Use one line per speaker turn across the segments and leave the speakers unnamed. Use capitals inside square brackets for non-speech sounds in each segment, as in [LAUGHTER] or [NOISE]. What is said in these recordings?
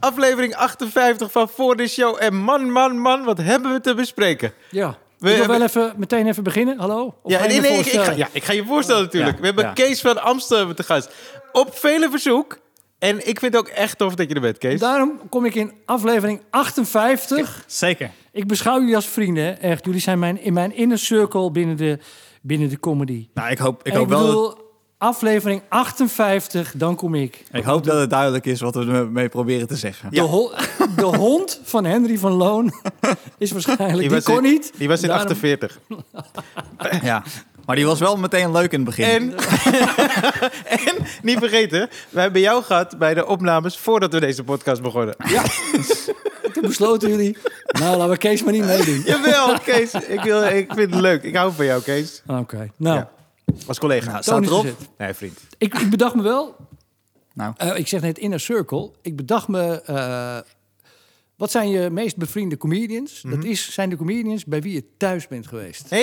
Aflevering 58 van Voor de Show. En man, man, man, wat hebben we te bespreken?
Ja.
We
We ik wil
hebben-
wel even, meteen even beginnen. Hallo? Of
Ja,
ga je
nee,
me
nee, ik, ik
voorstellen?
ga, ja, ik ga je voorstellen natuurlijk.
Ja,
we hebben
ja.
Kees van Amsterdam te gast. Op vele verzoek. En ik vind het ook echt tof dat je er bent, Kees.
Daarom kom ik in aflevering 58.
Zeker.
Ik beschouw jullie als vrienden. hè. Echt, jullie zijn mijn, in mijn inner circle binnen de, binnen de comedy.
Nou, ik hoop, ik
En
hoop, wel, dat,
bedoel, aflevering 58, dan kom ik.
ik hoop dat het duidelijk is wat we ermee proberen te zeggen.
De, ho- de hond van Henry van Loon [LAUGHS] is waarschijnlijk... Die, kon
in,
niet.
Die was in
Daarom-
48.
Ja. Maar die was wel meteen leuk in het begin.
En, [LAUGHS] en niet vergeten, wij hebben jou gehad bij de opnames voordat we deze podcast begonnen.
Toen besloten jullie, nou, laten we Kees maar
[LAUGHS]
niet meedoen.
Jawel, Kees. Ik, wil, ik vind het leuk. Ik hou van jou, Kees.
Oké, nou...
Ja. Als collega.
Nou,
Toon
staat
is
erop.
gezet.
Nee, vriend.
Ik, ik bedacht me wel.
Nou.
Eh, ik zeg net inner circle. Ik bedacht me. eh, wat zijn je meest bevriende comedians? Dat is, zijn de comedians bij wie je thuis bent geweest. Je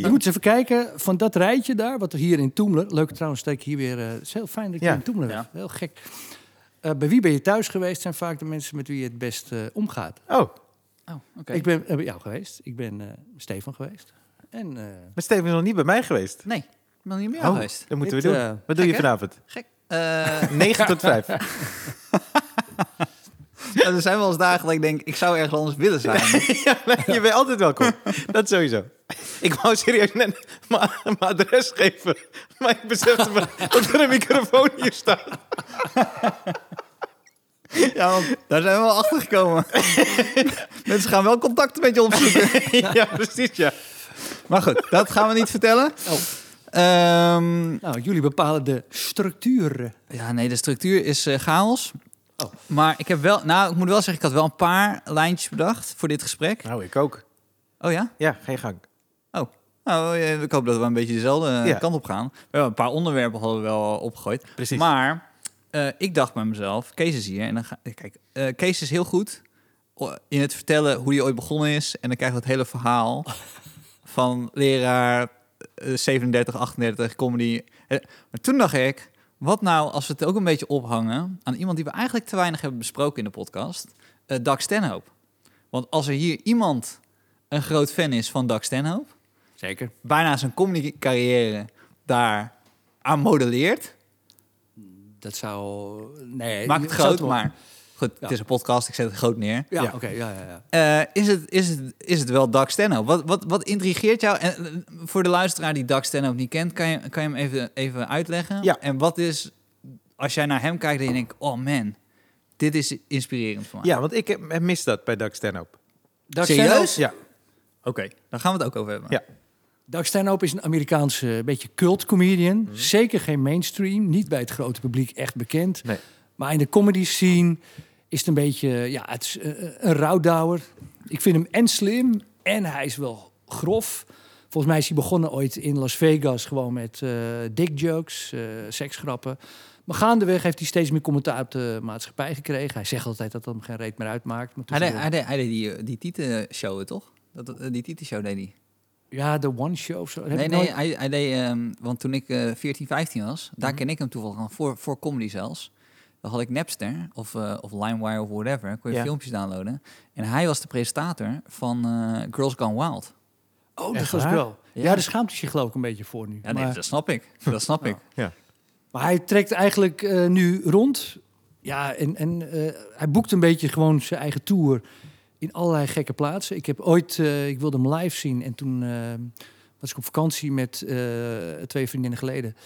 Hey.
moet eens even kijken van dat rijtje daar, wat er hier in Toemler. Leuk trouwens, steek ik hier weer. eh, het is heel fijn dat je
Ja,
in Toemler bent.
ja.
Heel gek. Eh, bij wie ben je thuis geweest? Zijn vaak de mensen met wie je het best eh, omgaat.
Oh,
Ik ben eh, bij jou geweest. Ik ben eh, Stefan geweest. En eh,
maar Steven is nog niet bij mij geweest.
Nee, ik ben niet meer
Oh,
geweest. Eh,
dat moeten we
Dit,
doen.
eh,
Wat doe je
gek, hè?
vanavond?
Gek. [LAUGHS]
9 tot 5.
er zijn wel eens dagen dat ik denk, ik zou ergens anders willen zijn.
ja, nee, [LAUGHS] je bent altijd welkom. Dat sowieso. Ik wou serieus net mijn mijn adres geven. Maar ik besefte
[LAUGHS]
me dat er een microfoon hier staat.
[LAUGHS] ja, want daar zijn we wel achter [LAUGHS] gekomen. Mensen gaan wel contact met je opzoeken.
ja, precies, ja.
maar goed, dat gaan we niet vertellen.
Oh.
Ehm,
nou, jullie bepalen de structuren.
Ja, nee, de structuur is eh, chaos.
Oh.
Maar ik heb wel, nou, ik moet wel zeggen, ik had wel een paar lijntjes bedacht voor dit gesprek.
Nou, ik ook.
Oh ja?
Ja, geen gang.
Oh. Nou, eh, ik hoop dat we een beetje dezelfde eh,
Ja.
kant op gaan. We hebben een paar onderwerpen hadden we wel eh, opgegooid.
Precies.
Maar eh, ik dacht bij mezelf, Kees is hier. En dan ga, kijk, eh, Kees is heel goed o- in het vertellen hoe hij ooit begonnen is. En dan krijgen we het hele verhaal
[LAUGHS]
van leraar eh, 37, 38, comedy. Eh, maar toen dacht ik, wat nou als we het ook een beetje ophangen aan iemand die we eigenlijk te weinig hebben besproken in de podcast. eh Doug Stanhope. Want als er hier iemand een groot fan is van Doug Stanhope
Zeker.
bijna zijn comedycarrière daar aan modelleert.
Dat zou. Nee,
Maakt het
zou
groot,
toch-
maar goed,
Ja.
het is een podcast, ik zet het groot neer.
Ja,
Ja.
oké, ja, ja, ja.
Eh, is, het, is, het, is het wel Doug Stanhope? Wat, wat, wat intrigeert jou? En eh, voor de luisteraar die Doug Stanhope niet kent, kan je, kan je hem even, even uitleggen?
Ja.
En wat is, als jij naar hem kijkt en je denkt, oh man, dit is inspirerend voor mij.
Ja, want ik heb- mis dat bij Doug Stanhope.
Doug
Serieus?
Stanhope,
Ja,
Oké, dan gaan we het ook over hebben.
Ja.
Doug Stanhope is een Amerikaanse een beetje cult comedian.
Mhm.
Zeker geen mainstream, niet bij het grote publiek echt bekend.
Nee.
Maar in de comedy scene is het een beetje, ja, het is eh, eh, een rouwdouwer. Ik vind hem en slim en hij is wel grof. Volgens mij is hij begonnen ooit in Las Vegas gewoon met eh dick jokes, eh, seksgrappen. Maar gaandeweg heeft hij steeds meer commentaar op de maatschappij gekregen. Hij zegt altijd dat dat hem geen reet meer uitmaakt. Maar
Hij deed,
tussendoor-
hij deed, hij deed die, eh, die Tieten-show, toch? Dat, eh, die Tieten-show deed hij.
Ja, de one show of zo. Dat heb
Nee,
ik
nee,
nooit-
hij, hij deed, ehm, want toen ik eh 14, 15 was, daar
Mhm.
ken ik hem toevallig aan, voor, voor comedy zelfs. Dan had ik Napster of, eh, of LimeWire of whatever, kon je
Ja.
filmpjes downloaden. En hij was de presentator van eh, Girls Gone Wild.
Oh, dat
Echt
was
waar?
wel. Ja,
Ja.
daar schaamt hij zich geloof ik een beetje voor nu.
Ja, nee,
maar,
dat snap ik. Dat [LAUGHS] snap ik.
maar hij trekt eigenlijk eh, nu rond. Ja, en, en eh, hij boekt een beetje gewoon zijn eigen tour in allerlei gekke plaatsen. Ik heb ooit, eh, ik wilde hem live zien en toen eh, was ik op vakantie met eh, twee vriendinnen geleden.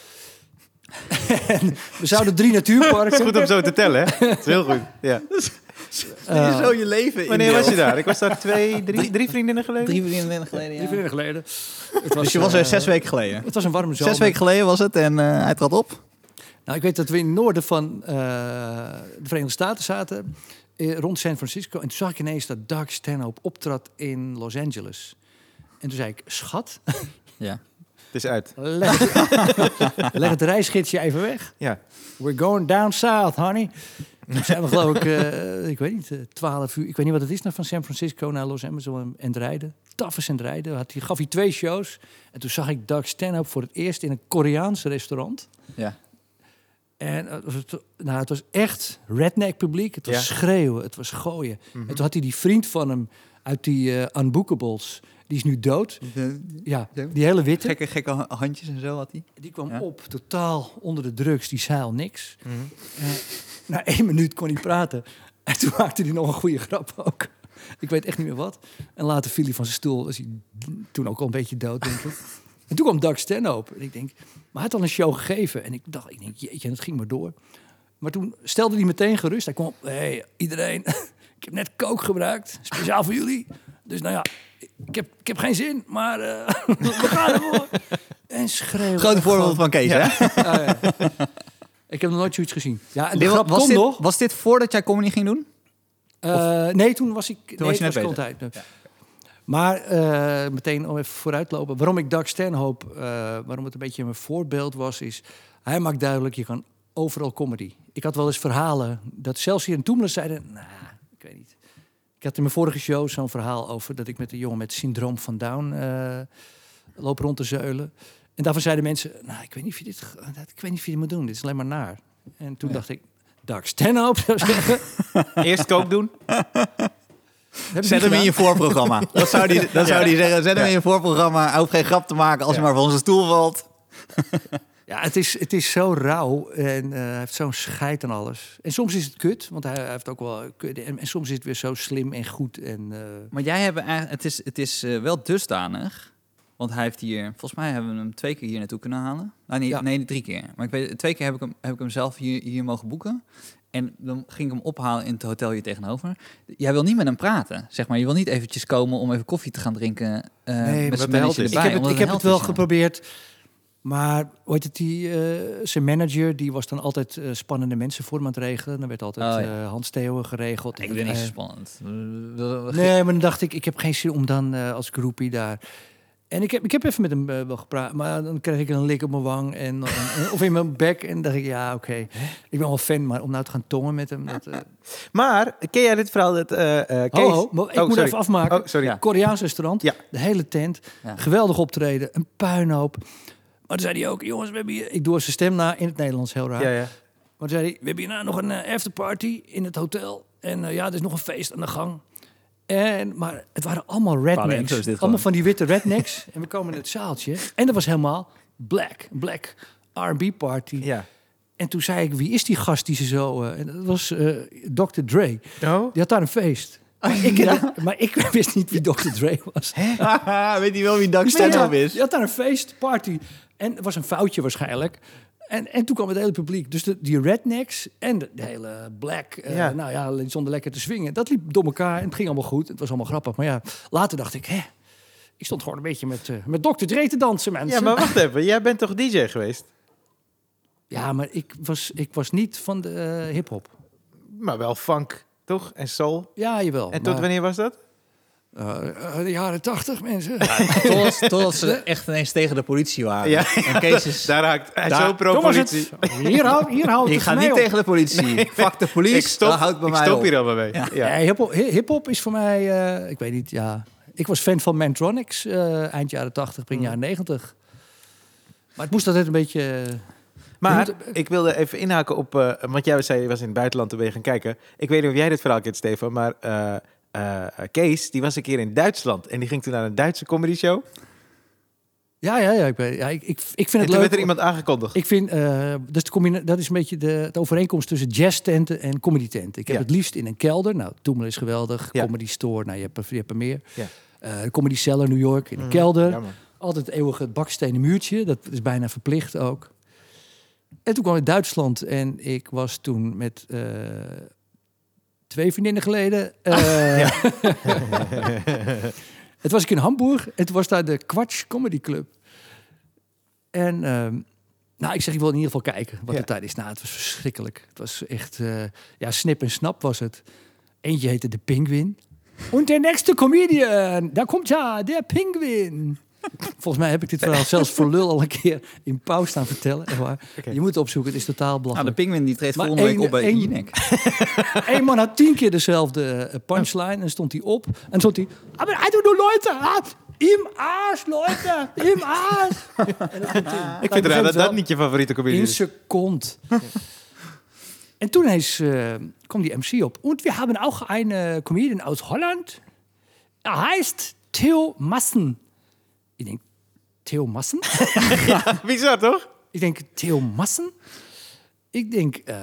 [LAUGHS] en we zouden
[LAUGHS]
drie
het is
natuurparken.
goed om zo te tellen, hè? Het is heel goed. Ja.
[LAUGHS] eh,
zo je leven
Wanneer was je daar? Ik was daar twee, drie, drie vriendinnen geleden.
Drie vrienden geleden,
drie
ja.
vriendinnen geleden. Het
Dus je was er
eh,
zes weken geleden?
Het was een warme zomer.
Zes weken geleden was het en eh, hij trad op.
Nou, ik weet dat we in het noorden van eh, de Verenigde Staten zaten, eh, rond San Francisco. En toen zag ik ineens dat Doug Stanhope optrad in Los Angeles. En toen zei ik, schat,
Ja.
Het is uit.
leg het, leg het [LAUGHS] reisgidsje even
[LAUGHS]
weg.
Ja.
We're going down south, honey. Toen zijn we geloof ik, eh, ik weet niet, eh, 12 uur. Ik weet niet wat het is, nou, van San Francisco naar Los Angeles om- en het rijden. Taf is en het rijden. Had hij, gaf hij twee shows. En toen zag ik Doug Stanhope voor het eerst in een Koreaans restaurant.
ja.
En eh, het- nou, het was echt redneck publiek. Het was
Ja.
schreeuwen, het was gooien. En toen had hij die vriend van hem uit die eh Unbookables. Die is eh, nu dood. Ja,
Ja.
die hele witte.
gekke, gekke ha- handjes en zo had hij.
Die kwam
Ja.
op, totaal onder de drugs. Die zei al niks. Eh, na één minuut kon hij praten. En toen maakte hij nog een goede grap ook. Ik weet echt niet meer wat. En later viel hij van zijn stoel. Was hij toen ook al een beetje dood, denk ik. En toen kwam Doug Stanhope. En ik denk, maar hij had al een show gegeven. En ik dacht, ik denk, jeetje, en het ging maar door. Maar toen stelde hij meteen gerust. Hij kwam op, hey, iedereen, [LAUGHS] ik heb net kook gebruikt. Speciaal voor jullie. Dus nou ja, ik heb, ik heb geen zin, maar eh, [LAUGHS] we gaan ervoor. En schreeuwen.
Groot voorbeeld van Kees, [LAUGHS] hè?
Ja, ja. [LAUGHS] Ik heb nog nooit zoiets gezien. Ja, en de
Dit wa-
grap
was,
kon
dit,
nog.
was dit voordat jij comedy ging doen?
Eh, nee, toen was ik. nee,
was je net
ik
bezig.
altijd. Maar eh, meteen om even vooruitlopen. Waarom ik Doug Stanhope, eh, waarom het een beetje mijn voorbeeld was, is hij maakt duidelijk: je kan overal comedy. Ik had wel eens verhalen dat zelfs hier in Toemler zeiden: nou, ik weet niet. Ik had in mijn vorige show zo'n verhaal over dat ik met een jongen met syndroom van Down eh, loop rond te zeulen. En daarvan zeiden mensen: nou, ik weet niet of je dit, ik weet niet of je dit moet doen. Dit is alleen maar naar. En toen dacht ik. Doug Stanhope [LAUGHS] zou zeggen.
Eerst kook doen.
"Heb ik
Zet
niet
hem in
gedaan."
je
[LAUGHS]
voorprogramma. Dat zou die, dat zou die zeggen. Zet hem in je voorprogramma. Hoef geen grap te maken als je maar van onze stoel valt.
Ja, het is, het is zo rauw en eh, hij heeft zo'n scheid aan alles. En soms is het kut, want hij, hij heeft ook wel kut. En, en soms is het weer zo slim en goed. En, eh,
Maar jij hebt eigenlijk, het is, het is eh, wel dusdanig. Want hij heeft hier, volgens mij hebben we hem twee keer hier naartoe kunnen halen. Nou, nee,
Ja.
nee, drie keer. Maar ik weet, twee keer heb ik hem, heb ik hem zelf hier, hier mogen boeken. En dan ging ik hem ophalen in het hotel hier tegenover. Jij wil niet met hem praten, zeg maar. Je wil niet eventjes komen om even koffie te gaan drinken. eh
omdat
met
hij held
zijn manager
is.
ik
erbij,
heb het,
omdat
ik heb
een
het
held
wel
is, ja.
geprobeerd. Maar weet het, die, eh, zijn manager die was dan altijd eh, spannende mensen voor hem aan het regelen. Dan werd altijd
Oh,
eh
ja.
Hans Theo geregeld.
Ik ben niet zo
Eh,
spannend.
Nee, maar dan dacht ik, ik heb geen zin om dan eh, als groepie daar. En ik heb, ik heb even met hem eh, wel gepraat, maar dan kreeg ik een lik op mijn wang en, en- of in mijn bek. En dacht ik, ja, oké, ik ben wel fan, maar om nou te gaan tongen met hem. Dat, eh
Maar, ken jij dit verhaal dat eh, eh, Kees...
ho, ho, maar ik
Oh,
moet
sorry.
even afmaken.
Oh, sorry.
Ja.
Koreaans restaurant,
Ja.
de hele tent,
Ja.
geweldig optreden, een puinhoop. Maar toen zei hij ook, jongens, we hebben hier... Ik doe zijn stem na in het Nederlands, heel raar.
Ja, ja.
Maar toen zei hij, we hebben hierna nog een eh, afterparty in het hotel. En eh, ja, er is nog een feest aan de gang. En, maar het waren allemaal
Paradiso is dit
rednecks.
gewoon.
Allemaal van die witte rednecks. [LAUGHS] en we komen in het zaaltje. En dat was helemaal black. Black R&B party.
ja.
En toen zei ik, wie is die gast die ze zo... eh, en dat was eh, Dr.
[LAUGHS]
Dre.
Oh?
Die had daar een feest. Maar,
Oh,
ik, [LAUGHS] maar ik wist niet wie Dr. Dre was.
Weet je wel wie Doug
Nee,
Stanhope
nou
ja,
is?
Je had daar een feest, party. En het was een foutje waarschijnlijk. En, en toen kwam het hele publiek. Dus de, die rednecks en de, de hele black. eh,
Ja.
Nou ja, die stonden lekker te swingen. Dat liep door elkaar en het ging allemaal goed. Het was allemaal grappig. Maar ja, later dacht ik, hè. Ik stond gewoon een beetje met, eh, met Dr. Dre te dansen, mensen.
Ja, maar wacht even. Jij bent toch DJ geweest?
Ja, maar ik, was, ik was niet van de eh, hip-hop.
Maar wel funk, toch? En soul.
Ja, jawel.
En
maar,
tot wanneer was dat?
eh, eh, de jaren tachtig, mensen. [LAUGHS]
Totdat [LAUGHS] totdat ze echt ineens tegen de politie waren.
Ja.
En Kees is...
Daar haakt hij
[LAUGHS] Daar-
zo
Toen was het.
pro-politie.
Hier houdt hier houdt
Ik
het
ga
voor
niet
mij op.
tegen de politie. [LAUGHS] Fuck de police.
Ik stop,
Dat houdt bij
ik
mij
stop
op.
hier allemaal mee. Ja.
Ja. Eh, hiphop, hi- hiphop is voor mij, eh, ik weet niet, ja. Ik was fan van Mantronics eh, eind jaren 80,
Mm.
begin jaren 90. Maar het moest altijd een beetje. eh,
Maar
Je moet-
ik wilde even inhaken op... eh, want jij zei, je was in het buitenland, toen ben je gaan kijken. Ik weet niet of jij dit verhaal kent, Stefan, maar... eh, eh, Kees, die was een keer in Duitsland en die ging toen naar een Duitse comedy show.
Ja, ja, ja. Ik, ben, ja, ik, ik, ik vind
En
het
toen werd
leuk.
er iemand aangekondigd.
Ik vind, eh, dat, is de combina- dat is een beetje de, de overeenkomst tussen jazztenten en comedytenten. Ik heb
Ja.
het liefst in een kelder. Nou, Toemel is geweldig.
Ja.
Comedy Store, nou, je hebt er, je hebt er meer.
Ja. Mm.
Eh, comedy Cellar New York in een kelder.
Ja, man.
Altijd het eeuwige bakstenen muurtje. Dat is bijna verplicht ook. En toen kwam ik Duitsland en ik was toen met eh, twee vriendinnen geleden.
Ah,
[LAUGHS] eh, het was ik in Hamburg. Het was daar de Quatsch Comedy Club. En ehm, nou, ik zeg, ik wil in ieder geval kijken wat
Ja.
de tijd is. Nou, het was verschrikkelijk. Het was echt, eh, ja, snip en snap was het. Eentje heette de Penguin. En de next comedian, daar komt ja, de Penguin. Volgens mij heb ik dit verhaal zelfs voor lul al een keer in pauw staan vertellen. Echt waar.
Oké.
Je moet het opzoeken, het is totaal
Nou, de
belachelijk.
pingwin die treedt
Maar
volgende week
één-
op bij
één-
Jinek.
Eén man had tien keer dezelfde eh, punchline en stond hij op. En stond hij, maar I don't know Leute, ah, Im Arsch, Leute! Im Arsch! En dat komt
Ik
in.
vind raar
begint
dat
wel.
dat niet je favoriete comedian
In
is.
zijn kont. En toen is, eh, kwam die MC op. En we hebben ook een eh, comedian uit Holland. Er heet Theo Massen. Ik denk, Theo Massen?
[LAUGHS] Bizar, toch?
ik denk, Theo Massen? Ik denk, eh,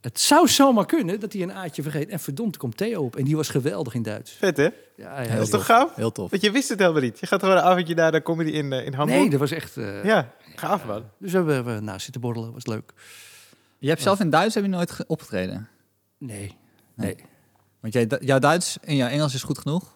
het zou zomaar kunnen dat hij een aatje vergeet. En verdomd, er komt Theo op. En die was geweldig in Duits.
Vet, hè?
Ja, ja,
Dat is
joh.
toch gaaf?
Heel tof.
Want je wist het helemaal niet. Je gaat gewoon een avondje naar de comedy in, eh, in Hamburg.
Nee, dat was echt... eh,
Ja, gaaf, man.
Dus we hebben we naast zitten borrelen, was leuk.
Je hebt zelf in Duits heb je nooit ge- opgetreden.
Nee,
Nee.
nee.
Want jij, jouw Duits en jouw Engels is goed genoeg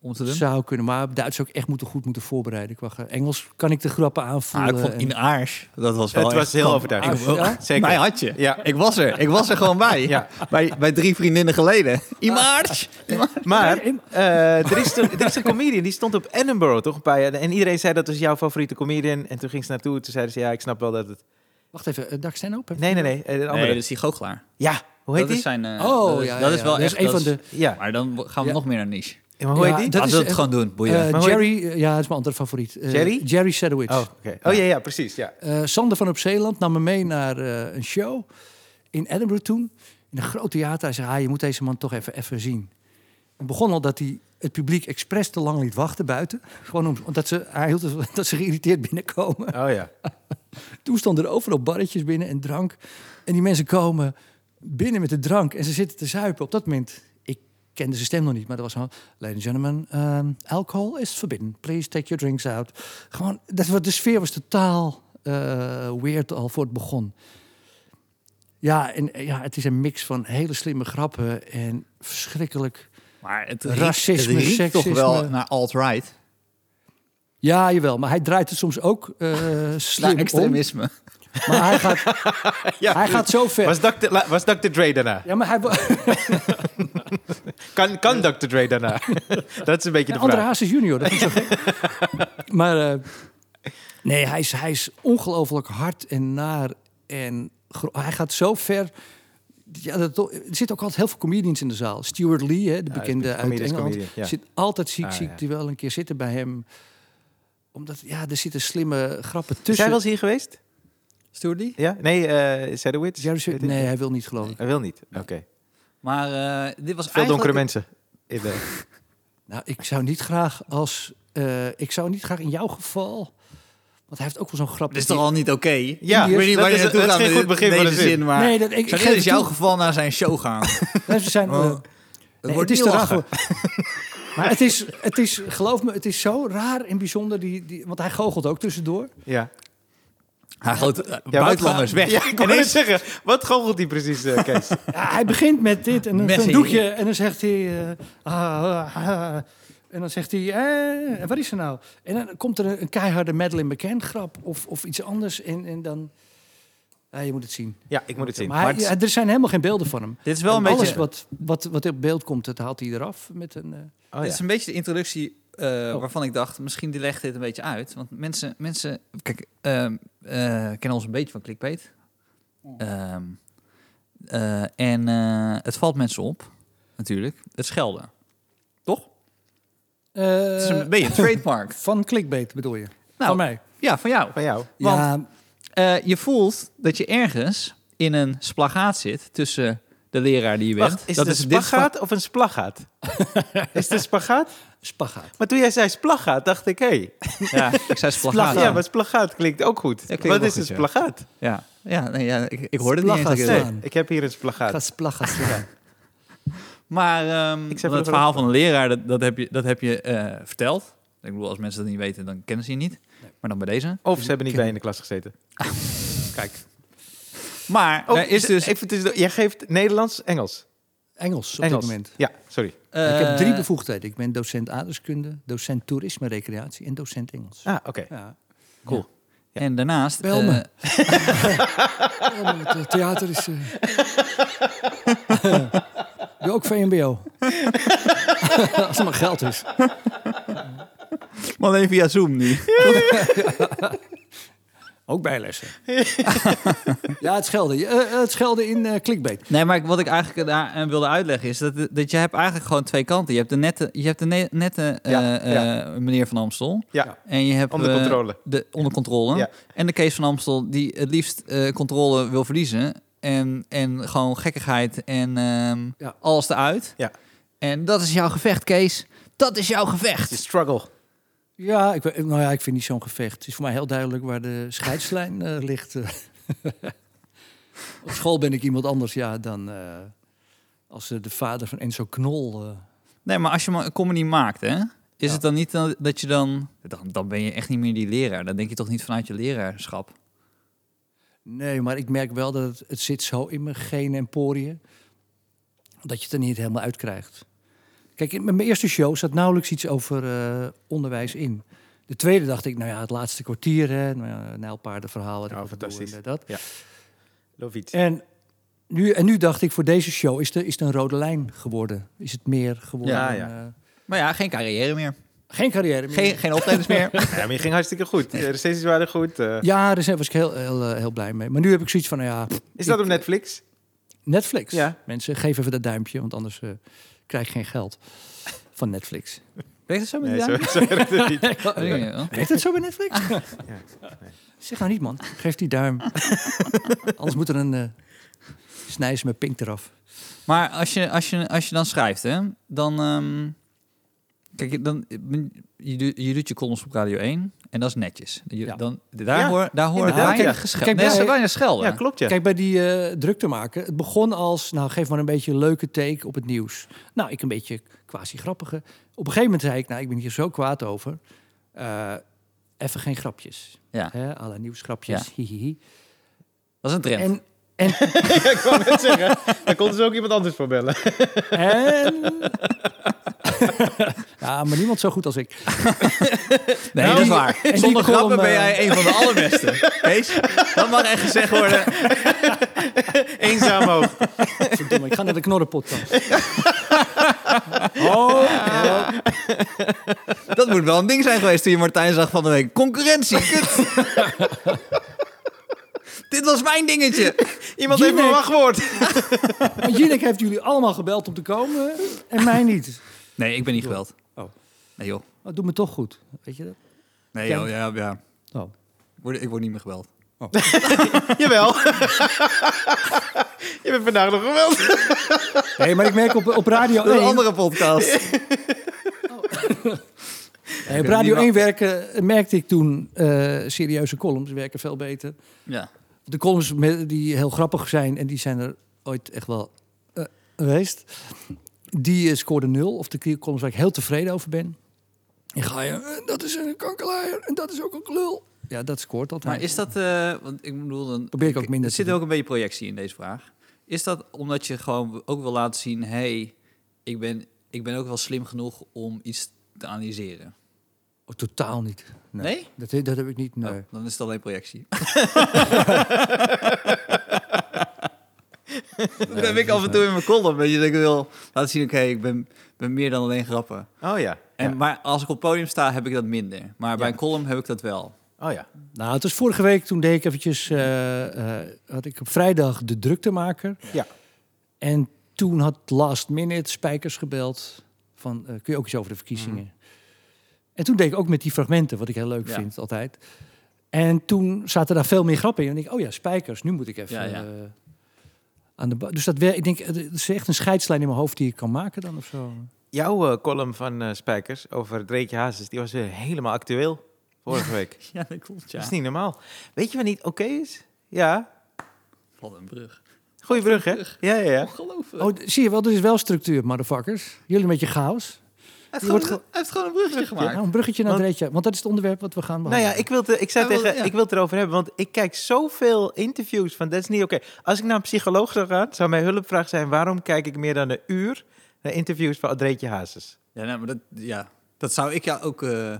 om te doen.
Zou kunnen, maar Duits zou ik echt moeten, goed moeten voorbereiden. Qua ge- Engels kan ik de grappen
Maar
aanvoelen.
Ah,
Eh,
ik vond
en-
in Aars, dat was wel
Het was
echt-
heel
Ah,
overtuigend.
Ik ook.
ja?
Zeker.
Mij had je.
Ja.
Ik was er. Ik was er gewoon bij.
Ja.
Bij, bij drie vriendinnen geleden. Ah. In Aars.
Maar
Nee, in-
eh, er, is een, er is een comedian, die stond op Edinburgh toch een paar jaar. En iedereen zei dat is jouw favoriete comedian. En toen ging ze naartoe. Toen zeiden ze, ja, ik snap wel dat het...
Wacht even, eh, Dag Stenhoop? heb-
Nee, nee, nee. eh, Een andere.
Nee, dat is die goochelaar.
Ja, hoe heet
Dat
die?
is zijn... eh,
Oh,
dat is,
ja,
dat
ja,
is wel
ja. Dat
echt...
is een
dat
van
is-
Ja,
Maar dan wo- gaan we
Ja.
nog meer naar niche.
Ja, maar hoe
Ja,
heet die?
dat
Laten
is,
we het
eh,
gewoon doen. Boeien.
Eh,
Maar hoe
Jerry, eh, ja, dat is mijn andere favoriet. Eh,
Jerry?
Jerry Sedowitz.
Oh, oké. oh ja, ja, precies. Ja.
Eh, Sander van op Zeeland nam me mee naar eh, een show in Edinburgh toen. In een groot theater. Hij zei, ah, je moet deze man toch even, even zien. Het begon al dat hij het publiek expres te lang liet wachten buiten. Gewoon om- omdat ze, hij hield het- [LAUGHS] dat ze geïrriteerd binnenkomen.
Oh ja.
Toen stonden er overal barretjes binnen en drank. En die mensen komen binnen met de drank en ze zitten te zuipen. Op dat moment, ik kende zijn stem nog niet, maar dat was gewoon... Ladies and gentlemen, um, alcohol is forbidden. Please take your drinks out. Gewoon, dat, was- de sfeer was totaal eh, weird al voor het begon. Ja, en eh, ja, het is een mix van hele slimme grappen en verschrikkelijk...
Maar het
Racisme,
het riekt toch
seksisme.
wel naar alt-right.
Ja, jawel, maar hij draait het soms ook eh slim
Naar
om.
extremisme.
Maar hij gaat,
ja.
hij gaat zo ver.
[LAUGHS] Was Dr. La- was Dr. Dre daarna?
Ja, maar hij... wa-
Kan, kan Dr. Dre daarna? [LAUGHS] dat is een beetje de
Ja, André
vraag.
Haas is junior, dat is zo gek. [LAUGHS] maar eh, nee, hij is, hij is ongelooflijk hard en naar. En gro- hij gaat zo ver. Ja, dat, er zitten ook altijd heel veel comedians in de zaal. Stuart Lee, hè, de
Ja,
bekende
is-
uit
comedian is
Engeland,
comedian, ja.
zit altijd ziek,
Ah,
ziek.
ja.
Die wel een keer zitten bij hem. Omdat, ja, er zitten slimme grappen
Is
tussen.
hij wel eens hier geweest?
Stuurdi?
Ja? Nee, eh Sedowitz?
Jerry Sir-
Weet ik.
dus- nee, hij wil niet geloof ik.
Hij wil niet. Oké.
Maar eh, dit was
Veel donkere
eigenlijk...
mensen. In de...
Nou, ik zou niet graag als... eh, ik zou niet graag in jouw geval... Want hij heeft ook wel zo'n grap.
Dit is
dat
toch al niet oké?
Ja,
ik weet niet
dat
waar je
is-
naartoe
dat is
gaat
geen
met
goed begin
deze
van een zin.
maar...
Nee, dat- ik- ik
zou
geef
niet in
het
jouw
toe.
geval naar zijn show [LAUGHS] gaan. Het
die- ze zijn, eh,
Oh.
Nee,
wordt
het
niet
is te raar
lachen.
[LAUGHS] voor- Maar het is, het is, geloof me, het is zo raar en bijzonder. Die, die, want hij goochelt ook tussendoor.
Ja.
Hij gooit eh,
Ja,
buitenlanders
wat-
weg.
Ja, ik wou net zeggen. Wat goochelt hij precies, eh, Kees?
Ja, hij begint met dit en een
Messi.
doekje. En dan zegt hij... eh, ah, ah, ah. en dan zegt hij, eh, en wat is er nou? En dan komt er een, een keiharde Madeleine McCann grap of, of iets anders. En, en dan... Ja, je moet het zien.
ja, ik moet het zien.
Maar hij-
Maar
ja,
het-
er zijn helemaal geen beelden van hem.
Dit is wel een
En
beetje...
Alles wat, wat, wat op beeld komt, dat haalt hij eraf. Met een, eh,
Oh, ja.
Dit
Oh.
is een beetje de introductie eh, waarvan ik dacht, misschien die legt dit een beetje uit. Want mensen, mensen kijk, ehm, eh, kennen ons een beetje van clickbait.
Oh.
Ehm, eh, en eh, het valt mensen op, natuurlijk. Het schelden. Toch? het is
eh,
een beetje een
[LAUGHS]
trademark.
van clickbait bedoel je?
Nou,
van mij?
Ja, van jou.
Van jou.
want-
ja,
Eh, je voelt dat je ergens in een splagaat zit tussen de leraar die je bent.
Wacht, is
dat
het een
dit
spagaat of een splagaat? [LAUGHS] is het een spagaat?
spagaat.
Maar toen jij zei splagaat, dacht ik, hé.
spla- Ja, ik zei splagaat.
Ja, maar splagaat klinkt ook goed.
klinkt
Wat
wel
is een
goed, ja.
splagaat?
ja. Ja, nee, ja, ik, ik hoorde het niet eens. dat ik
Splagaat.
het zei.
Nee,
Slaan.
ik heb hier een splagaat.
Gasplaga slaan.
Maar ehm,
Ik zeg
want het
even-
verhaal van een leraar, dat, dat heb je, dat heb je eh, verteld. Ik bedoel, als mensen dat niet weten, dan kennen ze je niet. Maar dan bij deze.
Of ze hebben niet bij je in de klas gezeten. [LAUGHS] Kijk.
Maar
Oh,
er is dus...
Even tussendoor. Jij geeft Nederlands, Engels.
Engels op
Engels.
dit moment.
Ja, sorry.
eh,
ik heb drie bevoegdheden. Ik ben docent aardrijkskunde, docent toerisme recreatie en docent Engels.
Ah, oké.
Ja.
Cool.
En daarnaast...
Bel me.
eh,
het theater is... [LAUGHS] Doe ook VMBO. [LAUGHS] Als er maar geld is.
[LAUGHS]
maar alleen via Zoom nu.
Ook [LAUGHS] bijlessen. ja, het schelden. Je- eh, eh, het schelden in eh clickbait.
Nee, maar ik- wat ik eigenlijk daar eh, wilde uitleggen is dat, dat je hebt eigenlijk gewoon twee kanten. Je hebt de nette, je hebt de ne- nette eh,
Ja,
eh, meneer van Amstel.
Ja.
En je hebt
Onder
eh,
controle.
de, onder controle.
Ja.
En de Kees van Amstel die het liefst eh, controle wil verliezen. En, en gewoon gekkigheid en ehm,
Ja.
alles eruit.
Ja.
En dat is jouw gevecht, Kees. Dat is jouw gevecht.
De struggle.
Ja, ik, weet- nou ja, ik vind niet zo'n gevecht. Het is voor mij heel duidelijk waar de scheidslijn eh, ligt. [LAUGHS] Op school ben ik iemand anders ja, dan eh, als eh, de vader van Enzo Knol. eh,
Nee, maar als je maar een comedy maakt, hè, is
Ja.
het dan niet dan, dat je dan, dan... Dan ben je echt niet meer die leraar. Dan denk je toch niet vanuit je leraarschap.
Nee, maar ik merk wel dat het, het zit zo in mijn genen en poriën... dat je het er niet helemaal uitkrijgt. Kijk, in mijn eerste show zat nauwelijks iets over eh, onderwijs in. De tweede dacht ik, nou ja, het laatste kwartier, hè, nou ja, nijlpaardenverhaal. wat ik
Ja,
al doe
fantastisch.
en dat.
Loviet.
En, nu, en nu dacht ik, voor deze show is het is het een rode lijn geworden. Is het meer geworden.
Ja, ja.
eh,
Maar ja, geen carrière meer.
geen carrière meer.
Geen, geen opleiders meer.
Ja, maar je ging hartstikke goed. De recensies waren goed. eh.
Ja, daar zijn- was ik heel, heel, eh, heel blij mee. Maar nu heb ik zoiets van, nou ja,
is dat op Netflix?
Netflix.
Ja.
Mensen, geef even dat duimpje, want anders eh, krijg je geen geld van Netflix.
Weet je dat zo met
Nee,
die
zo,
dame?
zo werkt het niet.
Oh, nee, nee, hoor.
Heet dat zo bij Netflix?
[LAUGHS]
Zeg nou niet, man. Geef die duim. anders moet er een eh snijs met pink eraf.
Maar als je, als, je, als je dan schrijft, hè, dan... ehm, kijk, dan, je, doet- je doet je columns op Radio 1 en dat is netjes. Je-
Ja.
dan, daar,
Ja,
hoor, daar hoor ik
inderdaad,
weinig
ja.
gescheld.
Kijk,
Nee,
daar-
ze weinig schelden.
Ja, klopt [LAUGHS] ja.
Kijk, bij die eh, druk te maken. Het begon als, nou, geef maar een beetje een leuke take op het nieuws. Nou, ik een beetje quasi-grappige. Op een gegeven moment zei ik, nou, ik ben hier zo kwaad over. Eh, even geen grapjes.
Ja.
Hè, à la nieuwsgrapjes.
Ja.
Hihihi.
Dat is een trend.
En
ik wou net zeggen. Daar kon dus ook iemand anders voor bellen.
En... [LAUGHS] ja, maar niemand zo goed als ik.
nee,
nou,
dat is
die-
waar.
[LAUGHS] en die
Zonder
column,
grappen ben
eh,
jij een van de
[LAUGHS]
allerbeste. Kees, dat mag echt gezegd worden.
Eenzaam hoog.
Verdomme, ik ga naar de
[LAUGHS]
knorrenpodcast. oh, ja.
Dat moet wel een ding zijn geweest toen je Martijn zag van de week. Concurrentie, kut.
[LAUGHS]
Dit was mijn dingetje.
Iemand heeft mijn
Jinek.
wachtwoord.
Maar Jinek heeft jullie allemaal gebeld om te komen en mij niet.
Nee, ik ben niet geweld.
Oh.
Nee joh.
Dat doet me toch goed, weet
[LAUGHS]
je dat?
Nee
Ken-
joh, ja, ja.
Oh.
Word- Ik word niet meer geweld.
[LAUGHS] Jawel. [LAUGHS] je bent vandaag nog geweldig.
Nee, maar ik merk op, op Radio
Dat is
1...
een andere podcast.
Nee, op Radio 1 werken, eh, merkte ik toen eh, serieuze columns werken veel beter.
[LAUGHS] Ja.
De columns met- die heel grappig zijn en die zijn er ooit echt wel eh, geweest. Die eh, scoorde nul. Of de columns waar ik heel tevreden over ben. En ga je, eh, dat is een kankerlaaier en dat is ook een klul. Ja, dat scoort altijd.
Maar is dat, eh, want ik bedoel, dan
Probeer ik ook minder
er
te
zit
doen.
ook een beetje projectie in deze vraag. Is dat omdat je gewoon ook wil laten zien, hey, ik ben, ik ben ook wel slim genoeg om iets te analyseren?
Oh, totaal niet. Nee?
Nee?
Dat, dat heb ik niet, nee.
Oh, dan is het alleen projectie. [LAUGHS] dat heb ik af en toe in mijn column. Weet je, dat ik wil laten zien, oké, ik ben, ben meer dan alleen grappen.
Oh ja.
En, Maar als ik op het podium sta, heb ik dat minder. Maar bij een column heb ik dat wel.
Oh ja.
Nou, het was vorige week, toen deed ik eventjes... eh, eh, had ik op vrijdag de druktemaker.
Ja.
En toen had last minute Spijkers gebeld van, eh, kun je ook iets over de verkiezingen? En toen deed ik ook met die fragmenten, wat ik heel leuk
Mhm. Ja.
vind altijd. En toen zaten daar veel meer grappen in. En ik, oh ja, Spijkers, nu moet ik even
Ja,
eh,
ja.
aan de ba- Dus dat wer- ik denk, het is echt een scheidslijn in mijn hoofd die ik kan maken dan of zo.
Jouw eh, column van eh, Spijkers over Dreekje Hazes, die was weer helemaal actueel vorige [LAUGHS] week.
Ja, dat klopt,
Dat is niet normaal. Weet je wat niet oké is? Ja.
Wat een brug.
Goeie brug, hè? Ja, ja, ja.
Ongelooflijk.
Oh, d- zie je wel, er is wel structuur, motherfuckers. Jullie met je chaos.
hij, heeft
je wordt
gewoon, hij heeft gewoon een bruggetje gemaakt.
Nou, een bruggetje naar
Want-
Dreetje, want dat is het onderwerp wat we gaan
Nou ja,
behandelen.
ik wil, het, eh, ik, zei
Hij wil-
tegen,
ja.
ik wil het erover hebben, want ik kijk zoveel interviews van dat is niet oké. Als ik naar een psycholoog zou gaan, zou mijn hulpvraag zijn: waarom kijk ik meer dan een uur naar interviews van Adreetje Hazes?
Ja, nee, maar dat, ja, dat zou ik jou ook eh,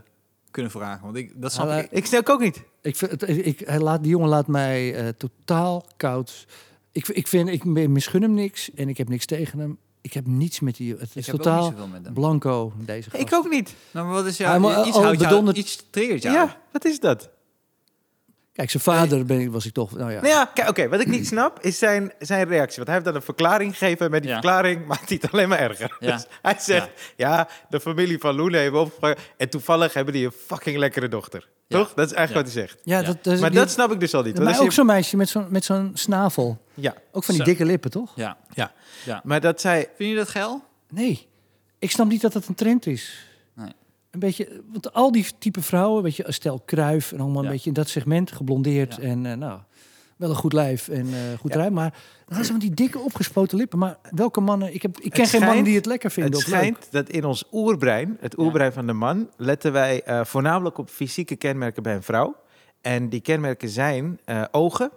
kunnen vragen. Want ik, dat snap
Maar,
ik.
Ik snap ook niet.
Ik, vind het- ik, hij laat, die jongen laat mij eh, totaal koud. Ik, ik, vind, ik misgun hem niks en ik heb niks tegen hem. Ik heb niets met die. Het
Ik
is
heb ook
totaal
niet zoveel met hem.
blanco, deze gast.
Ik ook niet.
Nou, maar wat is
Hij
jou,
moet-
iets
oh,
houdt jou,
bedonderd-
iets triggert
Ja,
jou.
wat is dat?
Kijk, zijn vader ben ik, was ik toch... Nou ja,
Nou ja, kijk, oké, wat ik niet snap is zijn, zijn reactie. Want hij heeft dan een verklaring gegeven. Met die
Ja.
verklaring maakt hij het alleen maar erger.
Ja.
Dus hij zegt, ja. de familie van Loenen heeft opgevangen. En toevallig hebben die een fucking lekkere dochter.
Ja.
Toch? Dat is eigenlijk wat
Ja.
hij zegt.
ja,
Ja.
dat, dat is
Maar
die-
dat snap ik dus al niet.
Maar
want
ook
als je-
zo'n meisje met zo'n met zo'n snavel.
Ja,
Ook van die
Zo.
dikke lippen, toch?
Ja.
ja.
Ja.
Maar dat zij...
Vind je dat geil?
Nee. Ik snap niet dat dat een trend is.
Nee.
Een beetje, want al die type vrouwen, weet je, Stel Kruif en allemaal een
Ja.
beetje in dat segment geblondeerd.
Ja.
En eh, nou, wel een goed lijf en eh, goed ruim. Maar dan hadden ze van die dikke opgespoten lippen. Maar welke mannen, ik, heb, ik ken geen
schijnt-
mannen die het lekker vinden.
Het
of leuk.
schijnt dat in ons oerbrein, het oerbrein van de man... letten wij eh, voornamelijk op fysieke kenmerken bij een vrouw. En die kenmerken zijn eh, ogen,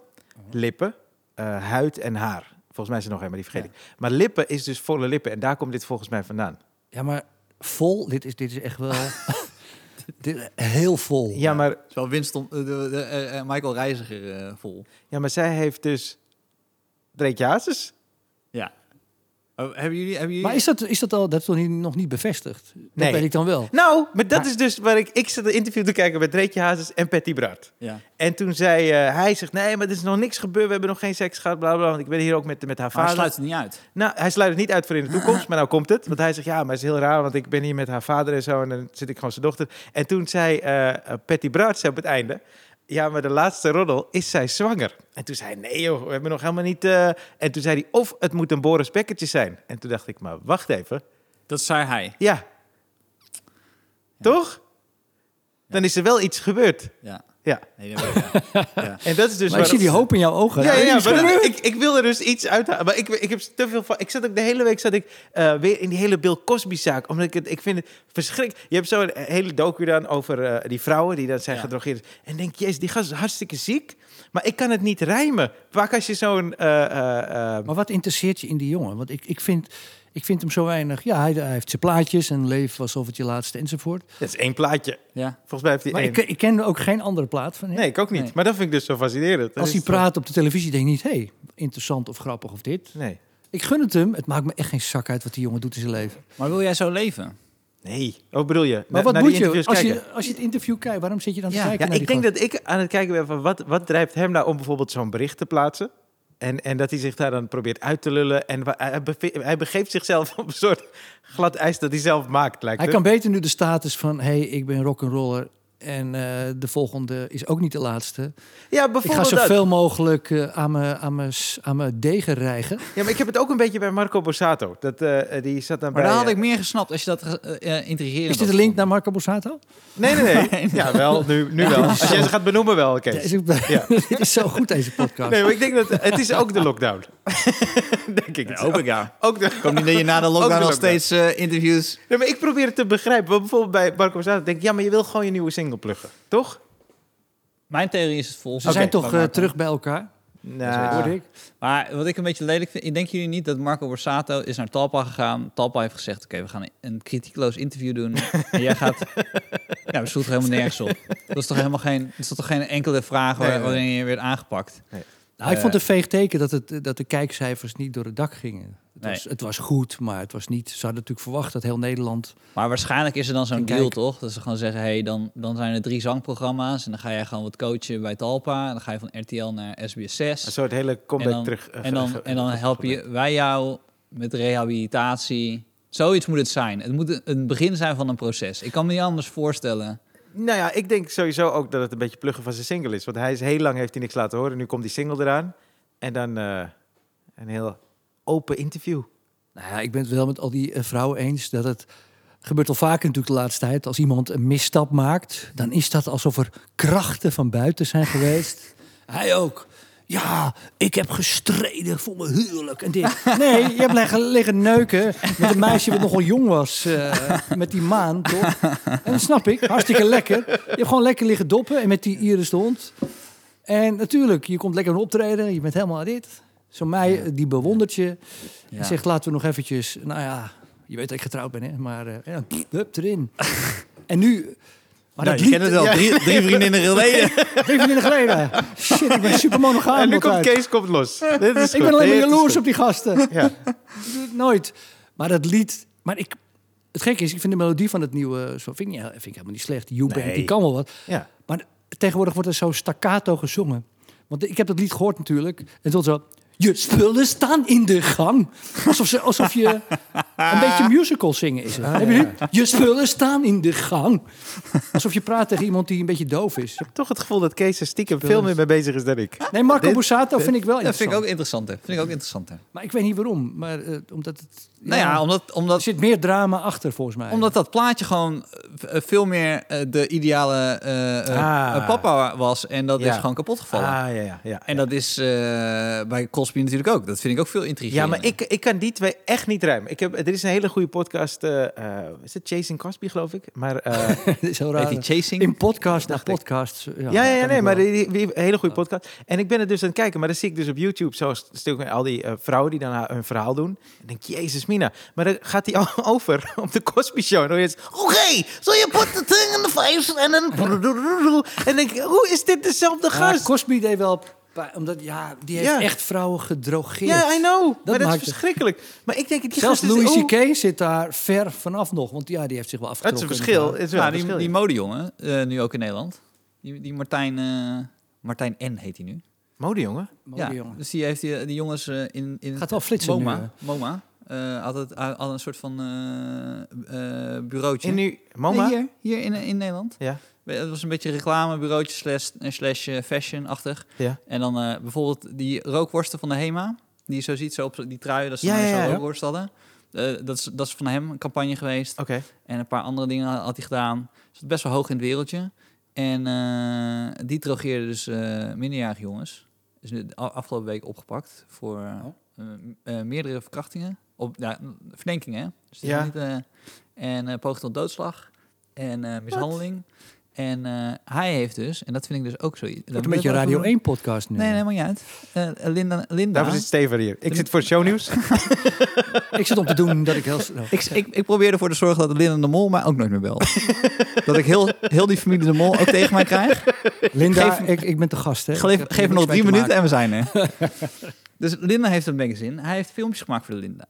lippen, eh, huid en haar. Volgens mij is er nog helemaal die vergeten. Maar lippen is dus volle lippen. En daar komt dit volgens mij vandaan.
Ja, maar vol, dit is, dit is
[LAUGHS]
echt wel dit, heel vol.
Ja, maar,
Het is wel Winston, eh, de, de- eh, eh, Michael Reiziger eh, vol.
ja, maar zij heeft dus Dreekjazes.
Ja. Oh, hebben jullie... Hebben jullie
Maar is dat, is dat al, dat is toch niet- nog niet bevestigd? Dat
Nee.
weet ik dan wel.
Nou, maar dat
Maar-
is dus waar ik... Ik zat een interview te kijken met Dreetje Hazes en Patty Bart.
Ja.
En toen zei eh, hij, zegt, nee, maar er is nog niks gebeurd. We hebben nog geen seks gehad, bla bla. bla, Want ik ben hier ook met, met haar
Maar hij
vader.
sluit het niet uit.
Nou, hij sluit het niet uit voor in de
[LAUGHS]
toekomst, maar nou komt het. Want hij zegt, ja, maar het is heel raar, want ik ben hier met haar vader en zo. En dan zit ik gewoon zijn dochter. En toen zei eh, eh, Patty Braarts op het einde... Ja, maar de laatste roddel, is zij zwanger? En toen zei hij, nee joh, we hebben nog helemaal niet... eh." En toen zei hij, of het moet een Boris Bekkertje zijn. En toen dacht ik, maar wacht even.
Dat zei hij.
Ja. Toch? Dan is er wel iets gebeurd.
Ja.
Ja.
Nee, dat
[LAUGHS]
weet ik wel. ja.
En dat is dus
Maar ik zie die hoop in jouw ogen.
Ja, ja, ja, maar
Misschien-
dat-
[LAUGHS]
ik, ik wil er dus iets uit Maar ik, ik heb te veel van. Ik zat ook de hele week zat ik, eh, weer in die hele Bill Cosby-zaak. Omdat ik het, ik vind het verschrikkelijk. Je hebt zo'n eh, hele docu dan over eh, die vrouwen die dan zijn
Ja.
gedrogeerd. En denk, jezus, die gast is hartstikke ziek. Maar ik kan het niet rijmen. Pak als je zo'n. eh, eh, eh,
Maar wat interesseert je in die jongen? Want ik, ik, vind, ik vind hem zo weinig. Ja, hij, hij heeft zijn plaatjes en leef alsof het je laatste enzovoort.
dat is één plaatje.
ja.
Volgens mij heeft hij
Maar
één.
ik, ik ken ook geen andere plaat van hem.
nee, ik ook niet.
Nee.
Maar dat vind ik dus zo fascinerend. Dat
Als hij
is-
praat op de televisie, denk ik niet: hé, hey, interessant of grappig of dit.
Nee.
Ik gun het hem. Het maakt me echt geen zak uit wat die jongen doet in zijn leven.
Maar wil jij zo leven?
Nee. Oh, bedoel je?
Maar
Na-
wat
naar
moet
die
je
interviews
als,
kijken?
je als je het interview kijkt? Waarom zit je dan te
Ja,
kijken?
Ja,
naar
ik
die
denk dat ik aan het kijken ben van wat, wat drijft hem nou om bijvoorbeeld zo'n bericht te plaatsen? En, en dat hij zich daar dan probeert uit te lullen. En wa- hij, beve- hij begeeft zichzelf [LAUGHS] op een soort glad ijs dat hij zelf maakt, lijkt
Hij
het.
kan beter nu de status van: hé, hey, ik ben rock'n'roller. En eh, de volgende is ook niet de laatste.
Ja,
Ik ga
bijvoorbeeld dat.
zoveel mogelijk eh, aan mijn- aan mijn s- aan mijn degen rijgen.
Ja, maar ik heb het ook een beetje bij Marco Borsato. Dat, eh, die zat dan
Maar
bij...
daar had
eh,
ik meer gesnapt als je dat eh eh, intrigerend
Is dit
had
een link
gevonden.
naar Marco
[LAUGHS]
Borsato?
Nee, nee, nee. ja, wel. Nu, nu wel. Als jij ze gaat benoemen wel, oké.
Deze- [LAUGHS] Dit is zo goed, deze podcast.
Nee, maar ik denk dat... Het is ook de lockdown. denk ik.
Ja, hoop ik
[LAUGHS]
ja.
Ook de...
Ik hoop niet dat je na de
Ook
lockdown
de
nog
lockdown.
steeds eh, interviews...
Nee, maar ik probeer het te begrijpen. Want bijvoorbeeld bij Marco Borsato denk ik... Ja, maar je wil gewoon je nieuwe single pluggen, toch?
Mijn theorie is het volgende.
Ze zijn toch eh, terug bij elkaar,
Nou...
hoorde ik.
Maar wat ik een beetje lelijk vind, denken jullie niet dat Marco Borsato is naar Talpa gegaan? Talpa heeft gezegd, oké, we gaan een kritiekloos interview doen. en jij
[LAUGHS]
gaat... Ja, we sloegen helemaal nergens op. Dat is toch helemaal geen... Er zat toch geen enkele vraag waar-
Nee, nee.
waarin je werd aangepakt?
Nou, ik
Eh.
vond het een veeg teken dat, het, dat de kijkcijfers niet door het dak gingen. Het,
Nee.
was, het was goed, maar het was niet... Ze hadden natuurlijk verwacht dat heel Nederland...
Maar waarschijnlijk is er dan zo'n
Kijk.
deal, toch? Dat ze gewoon zeggen, hey, dan, dan zijn er drie zangprogramma's... en dan ga jij gewoon wat coachen bij Talpa... en dan ga je van RTL naar SBS6.
Een soort hele comeback
en dan,
terug. eh,
en dan,
ge-
en dan
ge-
helpen je, wij jou met rehabilitatie. Zoiets moet het zijn. Het moet een- een begin zijn van een proces. Ik kan me niet anders voorstellen.
Nou ja, ik denk sowieso ook dat het een beetje pluggen van zijn single is. Want hij is heel lang heeft hij niks laten horen. Nu komt die single eraan. En dan eh, een heel open interview.
Nou ja, ik ben het wel met al die eh, vrouwen eens dat het... Gebeurt al vaker natuurlijk de laatste tijd. Als iemand een misstap maakt, dan is dat alsof er krachten van buiten zijn geweest. Hij ook. Ja, ik heb gestreden voor mijn huwelijk en dit. Nee, je hebt liggen, liggen neuken met een meisje wat nogal jong was. eh, met die maan, toch? En dat snap ik. Hartstikke lekker. Je hebt gewoon lekker liggen doppen en met die Iris de hond. En natuurlijk, je komt lekker een optreden. Je bent helemaal dit. Zo'n mei, eh, die bewondert je.
Ja.
En zegt, laten we nog eventjes... Nou ja, je weet dat ik getrouwd ben, hè? Maar eh ja, pff, hup,
[LAUGHS]
erin. en nu... Maar dat lied,
wel. Drie, drie vriendinnen geleden.
even in de
[LAUGHS]
geleden. Shit, ik ben super monogaam.
en nu komt
altijd.
Kees komt los. Dit is
[LAUGHS]
goed.
Ik ben alleen maar
Dit is
jaloers
goed.
op die gasten.
Ja.
Ik doe het nooit. Maar dat lied... Maar ik, eh, het gekke is, ik vind de melodie van het nieuwe... Zo, vind, ik, niet- vind ik helemaal niet slecht. You Band,
Nee.
die kan wel wat.
ja.
Maar tegenwoordig wordt er zo staccato gezongen. Want ik heb dat lied gehoord natuurlijk. En tot zo. Je spullen staan in de gang. Alsof, ze, alsof
[LAUGHS]
je een beetje musical zingen is.
Ah,
Het. Heb je niet? Je spullen staan in de gang. Alsof je praat tegen iemand die een beetje doof is.
Toch het gevoel dat Kees er stiekem veel meer mee bezig is dan ik.
Nee, Marco
Dit-
Borsato vind ik wel
Dat
interessant.
vind ik ook interessanter. Vind ik ook interessanter.
Maar ik weet niet waarom. Maar eh, omdat het...
Nou ja, omdat,
er
omdat,
zit meer drama achter volgens mij.
omdat dat plaatje gewoon eh, veel meer eh, de ideale eh, eh,
Ah.
papa was. En dat
Ja.
is gewoon kapot gevallen.
Ah, ja, ja, ja.
En dat is eh, bij Cosby natuurlijk ook. Dat vind ik ook veel intrigerend.
Ja, maar ik, ik kan die twee echt niet ruimen. Ik heb, er is een hele goede podcast. eh, eh, is het Jason Cosby, geloof ik? Maar, eh,
[LAUGHS]
[LAUGHS] Dat is heel raar.
Heet die Chasing?
In podcast naar
Dacht ik.
podcast. Ja,
ja, ja, ja,
kan
nee,
ik
maar
wel.
die, die- die- een hele goede podcast. En ik ben er dus aan het kijken, maar dan zie ik dus op YouTube zo'n st- stuk met al die eh, vrouwen die dan haar- hun verhaal doen. En ik denk, jezus mina. Maar dan gaat hij [LAUGHS] al over op de Cosby Show. En dan is oké, so you put the thing in the face en dan... En dan denk ik, hoe is dit dezelfde
Ja,
gast?
Cosby deed wel... pa- Omdat, ja, die heeft
Ja.
echt vrouwen gedrogeerd.
Ja, I know. maar dat is
maakt het.
verschrikkelijk. Maar ik denk, die
Zelfs
gast is-
Louis
oh,
C.K. zit daar ver vanaf nog. Want ja, die heeft zich wel
Het
afgetrokken.
is een verschil. Het is wel
Nou,
een
die,
verschil,
die
ja.
modejongen, eh, nu ook in Nederland. Die, die Martijn, eh, Martijn N heet hij nu.
Modejongen?
Mooie
ja,
jongen.
dus die heeft die, die jongens eh, in, in...
Gaat wel flitsen
MoMA.
nu, hè?
MoMA. eh, had, het, had een soort van eh, eh, bureautje.
In nu, mama?
Nee, hier, hier in, in Nederland.
Ja.
Het was een beetje reclamebureautje slash, slash eh, fashion-achtig.
Ja.
En dan eh, bijvoorbeeld die rookworsten van de HEMA. Die je zo ziet, zo op die truien, dat ze
Ja,
nou
ja,
zo'n
ja.
rookworst hadden. Eh, dat, is, dat is van hem een campagne geweest.
Oké.
En een paar andere dingen had hij gedaan. Dus best wel hoog in het wereldje. En eh, die drogeerde dus eh minderjarige jongens. Is nu de a- afgelopen week opgepakt voor eh,
Oh.
eh, meerdere verkrachtingen. Op, ja, m- verdenkingen, hè? Dus het is
Ja.
niet, eh, en eh poging tot doodslag. En eh, mishandeling. En eh, hij heeft dus, en dat vind ik dus ook zoiets.
Het wordt een beetje een Radio 1 podcast nu.
Nee, nee, maar niet uit. Eh, Linda, Linda.
Daarvoor zit Steven hier. Ik zit voor shownieuws.
Ik zit om te doen dat ik heel snel...
Ik, ik, ik probeer ervoor te zorgen dat Linda de Mol mij ook nooit meer
[LAUGHS]
belt. dat ik heel, heel die familie de Mol ook tegen mij krijg.
Linda,
Geef-
ik, ik ben te gast, hè. Ik
Geef,
heb er
geef me
niks
nog
mee
drie
te
minuten
maken.
en we zijn er.
[LAUGHS]
dus Linda heeft een magazine. Hij heeft filmpjes gemaakt voor de Linda.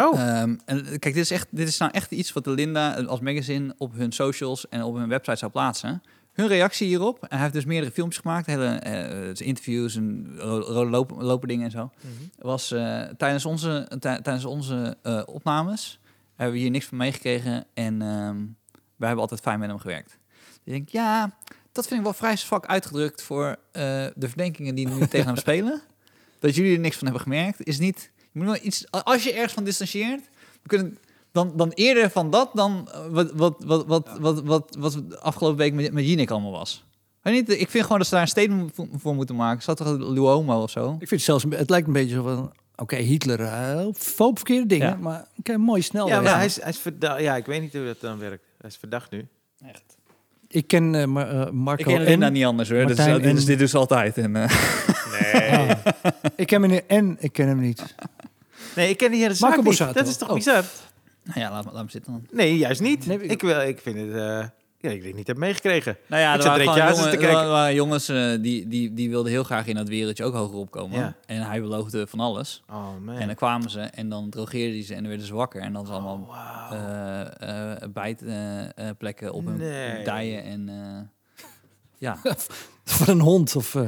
Oh,
Ehm, en kijk, dit is, echt, dit is nou echt iets wat de Linda eh, als magazine op hun socials en op hun website zou plaatsen. Hun reactie hierop. En hij heeft dus meerdere filmpjes gemaakt. Hele eh, eh, interviews en ro- ro- lopen, lopen dingen en zo.
Mhm.
Was eh, tijdens onze, tij- tijdens onze eh, opnames hebben we hier niks van meegekregen. En ehm wij hebben altijd fijn met hem gewerkt. Dus ik denk, ja, dat vind ik wel vrij zwak uitgedrukt voor eh, de verdenkingen die nu tegen hem spelen. Dat jullie er niks van hebben gemerkt, is niet. Je moet wel iets, als je ergens van distancieert, we kunnen dan, dan eerder van dat dan eh, wat, wat, wat, wat, wat, wat, wat de afgelopen week met, met Jinek allemaal was. Weet niet, ik vind gewoon dat ze daar een statement voor, voor moeten maken. Zat toch een Luomo of zo?
Ik vind het zelfs... een be- Het lijkt een beetje zo van... Oké, Hitler, eh, hoop verkeerde dingen.
Ja.
Maar ik heb mooi snel.
ja, maar
wezen.
hij is, hij is verdacht. Ja, ik weet niet hoe dat dan werkt. Hij is verdacht nu.
Echt.
Ik ken eh, Ma- eh, Marco
Ik ken Linda
N.
niet anders hoor. Dit is,
Martijn
dit, is,
en-
dit is altijd. En, eh,
Nee.
Ik ken meneer N, ik ken hem niet.
nee, ik ken die hele
Marco
zaak niet.
Borsato.
Dat is toch
Oh.
bizar?
[LAUGHS] nou ja, laat, me- laat me zitten dan.
Nee, juist niet.
Nee, ik-
ik... wil, ik vind het... eh, ja, ik denk niet heb meegekregen.
Nou ja,
Ik
er
zat
waren,
direct
gewoon
Jazes
jongen-
te
er
kijken.
waren- er waren jongens eh, die, die, die wilden heel graag in dat wereldje ook hoger opkomen.
Ja.
En hij beloofde van alles.
Oh man.
En dan kwamen ze en dan drogeerden die ze en dan werden ze wakker. En dan was allemaal
Oh, Wauw.
eh, eh, bijtplekken op hun
Nee.
dijen. En, eh, ja.
Van een hond of... eh,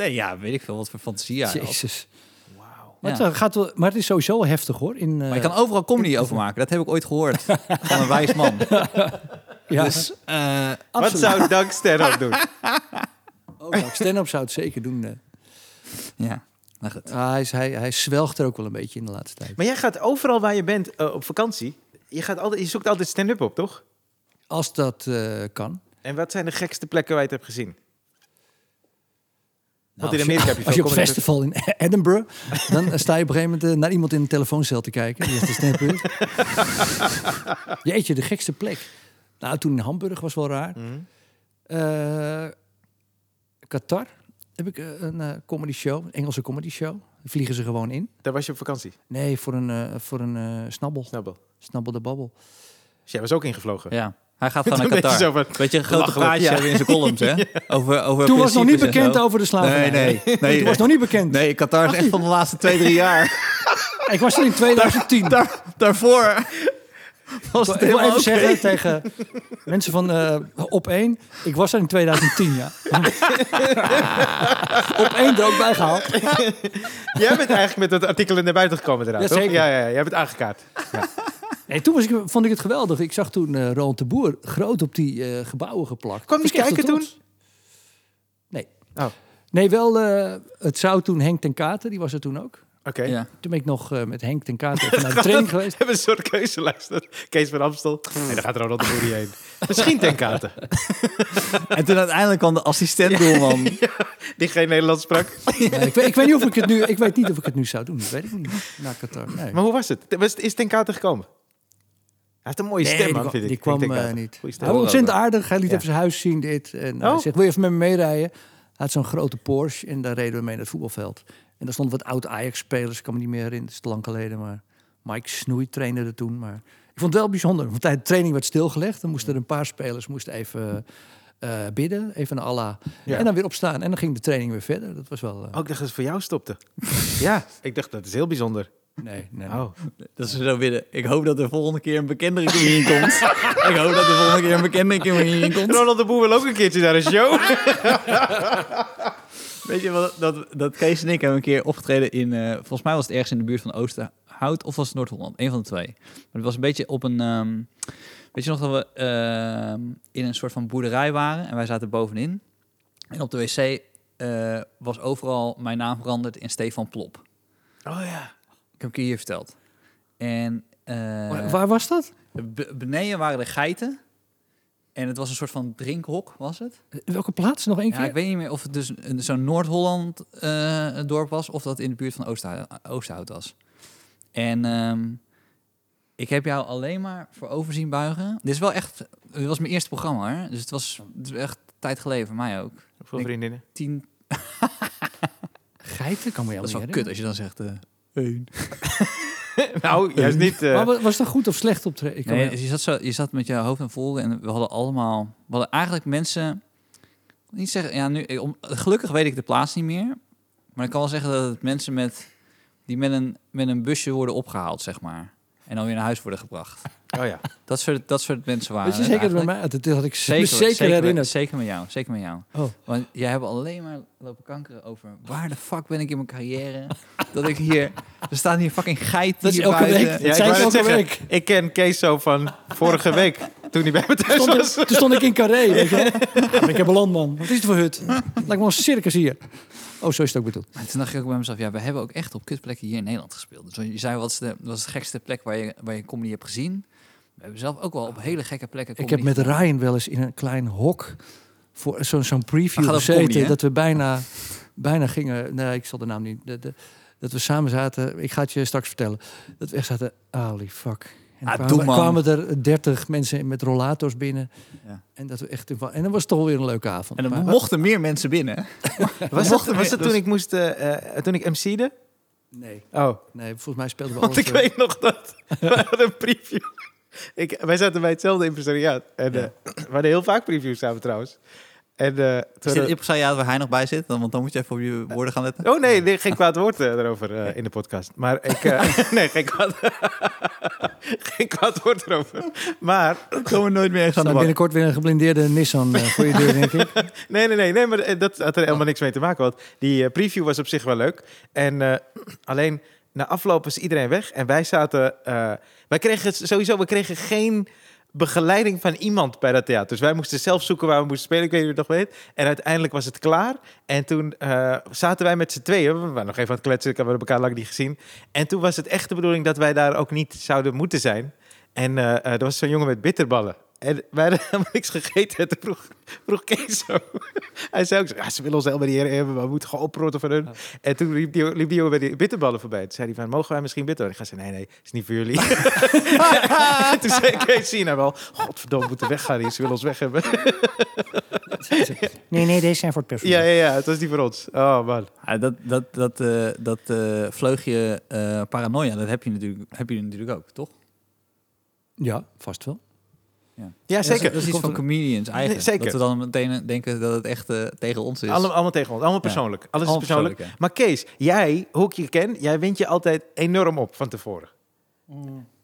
[LAUGHS] nee, ja, weet ik veel wat voor fantasie hij had.
Jezus.
Wauw.
Maar,
Ja.
het, gaat wel, maar het is sowieso wel heftig hoor. In, eh,
Maar je kan overal comedy over maken. Dat heb ik ooit gehoord van een wijs man.
ja,
[LAUGHS] Dus [LAUGHS] eh,
Wat
absoluut.
zou
[LAUGHS]
Dank Sterren doen?
Oh, nou, stand-up zou het zeker doen. eh.
ja, nou goed.
Ah, hij, is- hij, hij zwelgt er ook wel een beetje in de laatste tijd.
Maar jij gaat overal waar je bent eh, op vakantie... Je, gaat altijd, je zoekt altijd stand-up op, toch?
Als dat eh, kan.
En wat zijn de gekste plekken waar je het hebt gezien? Want in
Nou, als je-
Amerika heb je
Als je
veel
op
comedy-
festival in [LAUGHS] Edinburgh, dan eh, sta je op een gegeven moment eh, naar iemand in een telefooncel te kijken. Die heeft een stand-up [LAUGHS] is. Jeetje, de gekste plek. Nou, toen in Hamburg was wel raar.
Mhm.
Eh, Qatar heb ik eh, een eh, comedy show, een Engelse comedy show. Daar vliegen ze gewoon in.
Daar was je op vakantie,
Nee, voor een, eh, voor een eh, snabbel.
snap wel.
Snabbel de babbel.
Dus jij was ook ingevlogen.
Ja, hij [LAUGHS]
[LAUGHS]
gaat
Toen
gewoon naar
deed je
Qatar.
zo van,
Weet je, een grote
Belachelijk,
praatjes
ja.
hebben in zijn columns,
[LAUGHS]
hè? Over, over
Toen was nog niet
principes en
bekend
zo.
over de slavernij.
Nee,
[LAUGHS]
nee. Nee,
Toen was nog niet bekend.
nee, Qatar is
[LAUGHS]
echt van de laatste twee, drie jaar.
Ik was er in 2010.
Daar, daarvoor Was
Ik
het
wil even
helemaal oké?
zeggen tegen mensen van eh, op één. Ik was er in 2010, [LAUGHS] ja. op één er ook bij gehaald.
Jij bent eigenlijk met dat artikel naar buiten gekomen daarna,
Ja,
toch?
zeker.
Ja, ja, ja, jij bent aangekaart.
Nee, toen was ik, vond ik het geweldig. Ik zag toen eh Roland de Boer groot op die eh, gebouwen geplakt.
Kwam die
Was ik echt
kijken
wel
toen?
trots. Nee.
Oh.
Nee, wel, eh, het zou toen Henk ten Kater, die was er toen ook.
Oké.
Ja.
Toen ben ik nog eh, met Henk ten Kater even naar de
[LAUGHS]
training geweest.
We hebben een soort keuzelijst. Kees van Amstel. En dan gaat Ronald de Boer niet heen. Misschien ten katen.
En toen uiteindelijk kwam de
[LAUGHS]
assistent doelman.
Die geen Nederlands sprak.
Nee, ik, weet, ik weet niet of ik het nu, ik weet niet of ik het nu zou doen. Dat weet ik niet. Na Qatar. Nee.
Maar hoe was het? Was het- Is ten katen gekomen? Hij heeft een mooie
Nee,
stem,
die
man,
kwam-
vind ik.
Die kwam
Henk ten
eh,
Katen.
niet.
Goeie
Hij
stem.
was ontzettend aardig. Hij liet
Ja.
even zijn huis zien dit. En hij
Oh.
zegt, wil je even met me meerijden? Hij had zo'n grote Porsche en daar reden we mee naar het voetbalveld. En daar stonden wat oud-Ajax-spelers. Ik kan me niet meer in, het is te lang geleden. Maar Mike Snoei trainde er toen. Maar ik vond het wel bijzonder. Want tijdens de training werd stilgelegd. Dan moesten er een paar spelers moesten even eh, bidden. Even naar Allah.
Ja.
En dan weer opstaan. En dan ging de training weer verder. Dat was wel... eh,
Oh, ik dacht dat het voor jou
[LAUGHS]
stopte. ja, ik dacht dat is heel bijzonder.
Nee, nee.
Oh.
Dat ze zo willen. Ik hoop dat de volgende keer een bekendere comedian komt. ik hoop dat de volgende keer een bekendere comedian komt.
Ronald de Boer wil ook een keertje naar een
[LAUGHS]
show.
Weet je wat? Dat, dat Kees en ik hebben een keer opgetreden in... eh, volgens mij was het ergens in de buurt van Oosterhout of was het Noord-Holland. Een van de twee. Maar het was een beetje op een... ehm, weet je nog dat we ehm, in een soort van boerderij waren en wij zaten bovenin. En op de wc eh, was overal mijn naam veranderd in Stefan Plop.
Oh ja.
Ik heb het hier verteld. En... eh,
Waar- Waar was dat?
Be- beneden waren de geiten. En het was een soort van drinkhok, was het?
Eh, Welke plaats? Nog één
Ja,
keer?
ik weet niet meer of het dus een- zo'n Noord-Holland eh, dorp was... of dat in de buurt van Oosterhout, Oosterhout was. En ehm, ik heb jou alleen maar voor overzien buigen. Dit is wel echt... Dit was mijn eerste programma, hè? Dus het was, het is echt tijd geleden, voor mij ook.
Hoeveel
Ik-
vriendinnen?
Tien...
Geiten kan me
Dat
helemaal
is wel
niet
kut als je dan zegt... eh één.
Nou, juist niet. eh,
[LAUGHS] Maar wa- was dat goed of slecht optreden? Ik kan
Nee,
me-
dus je, zat zo, je zat met je hoofd en voren en we hadden allemaal... We hadden eigenlijk mensen... ik wil Niet zeggen, ja, nu, eh, om, gelukkig weet ik de plaats niet meer. Maar ik kan wel zeggen dat het mensen met, die met een, met een busje worden opgehaald, zeg maar. En dan weer naar huis worden
[LAUGHS]
gebracht.
Oh ja.
Dat soort, dat soort mensen waren
Weet je
het
zeker bij
eigenlijk.
mij? Dat had ik zeker,
Zeker,
zeker,
met-
herinnerd.
Zeker met jou, zeker met jou.
Oh.
Want jij hebt alleen maar lopen kankeren over waar de fuck ben ik in mijn carrière? dat ik hier, er staan hier fucking geiten
Dat is
hier
elke
buiten.
week.
ja
zei
wou
ik
net
elke
zeggen, Ik ken Kees zo van vorige week, toen hij bij me thuis
Stond
was.
ik- toen stond ik in Carré, weet je wel. Ik heb een landman. Wat is het voor hut? Lijkt me wel een circus hier. Oh, zo is het ook bedoeld.
En toen dacht ik ook bij mezelf, ja, we hebben ook echt op kutplekken hier in Nederland gespeeld. Dus je zei, wat is de, wat is de gekste plek waar je, waar je comedy hebt gezien? We hebben zelf ook wel op hele gekke plekken
Ik heb
comedy
met
gedaan.
Ryan wel eens in een klein hok voor zo'n zo'n
Maar
preview
gaat over
gezeten.
comedy, hè?
dat we bijna, bijna gingen... Nee, ik zal de naam niet... de- de- dat we samen zaten... Ik ga het je straks vertellen. Dat we echt zaten... Holy fuck. En
Ah,
kwamen,
doe, man.
kwamen er 30 mensen met rollators binnen.
Ja.
En, dat we echt, in- en dat was toch weer een leuke avond.
En
Maar-
er mochten meer mensen binnen.
Was dat,
mochten
was
we-
dat
dus-
toen ik moest, eh, eh, toen ik MC'de?
Nee,
Oh,
nee, volgens mij speelden we
want ik
alles, eh,
weet nog dat. We hadden een preview. Ik, wij zaten bij hetzelfde impresariaat. En, eh, we hadden heel vaak previews samen trouwens. En, eh, toen
Zit in ja waar hij nog bij zit, dan- want dan moet je even op je woorden gaan letten.
Oh nee, nee, geen kwaad woord eh, daarover eh, in de podcast. Maar ik. eh, [LAUGHS] nee, geen kwaad, geen kwaad woord erover. Maar.
Dan komen we nooit meer ergens
staat
aan de bak.
binnenkort weer een geblindeerde Nissan eh, voor je deur, denk ik.
Nee, nee, nee, nee, maar eh, dat had er helemaal niks mee te maken. Want die eh, preview was op zich wel leuk. En eh, alleen na afloop was iedereen weg. En wij zaten. eh, wij kregen sowieso we kregen geen begeleiding van iemand bij dat theater. Dus wij moesten zelf zoeken waar we moesten spelen. Ik weet niet of je het nog weet. En uiteindelijk was het klaar. En toen eh, zaten wij met z'n tweeën. We waren nog even aan het kletsen. Ik had elkaar lang niet gezien. En toen was het echt de bedoeling dat wij daar ook niet zouden moeten zijn. En eh, eh, er was zo'n jongen met bitterballen. En wij hadden [LAUGHS] helemaal niks gegeten. En toen vroeg, vroeg Kees zo. Hij zei ook zo, ja, ze willen ons helemaal niet hebben. maar We moeten gewoon oprotten van hun. En toen liep die, liep die jongen bij die bitterballen voorbij. Toen zei hij van, mogen wij misschien bitterballen? Ik ga zei, nee, nee, is niet voor [LAUGHS] jullie. En toen zei Kees zien nou wel, godverdomme, we moeten weggaan hier. Ze willen ons weg hebben.
[LAUGHS] Nee, nee, deze zijn voor het
ja, ja, ja, het was niet voor ons. Oh man.
Ja, dat dat, dat, eh, dat eh, vleugje eh, paranoia, dat heb je, natuurlijk, heb je natuurlijk ook, toch?
Ja, vast wel.
Ja,
Dat is-
zeker.
Dat is iets van comedians eigen.
Nee, zeker.
Dat we dan meteen denken dat het echt eh, tegen ons is.
Allemaal, allemaal tegen ons. Allemaal persoonlijk. Alles is
Allemaal
persoonlijk.
persoonlijk,
Maar Kees, jij, hoe ik je ken, jij wint je altijd enorm op van tevoren.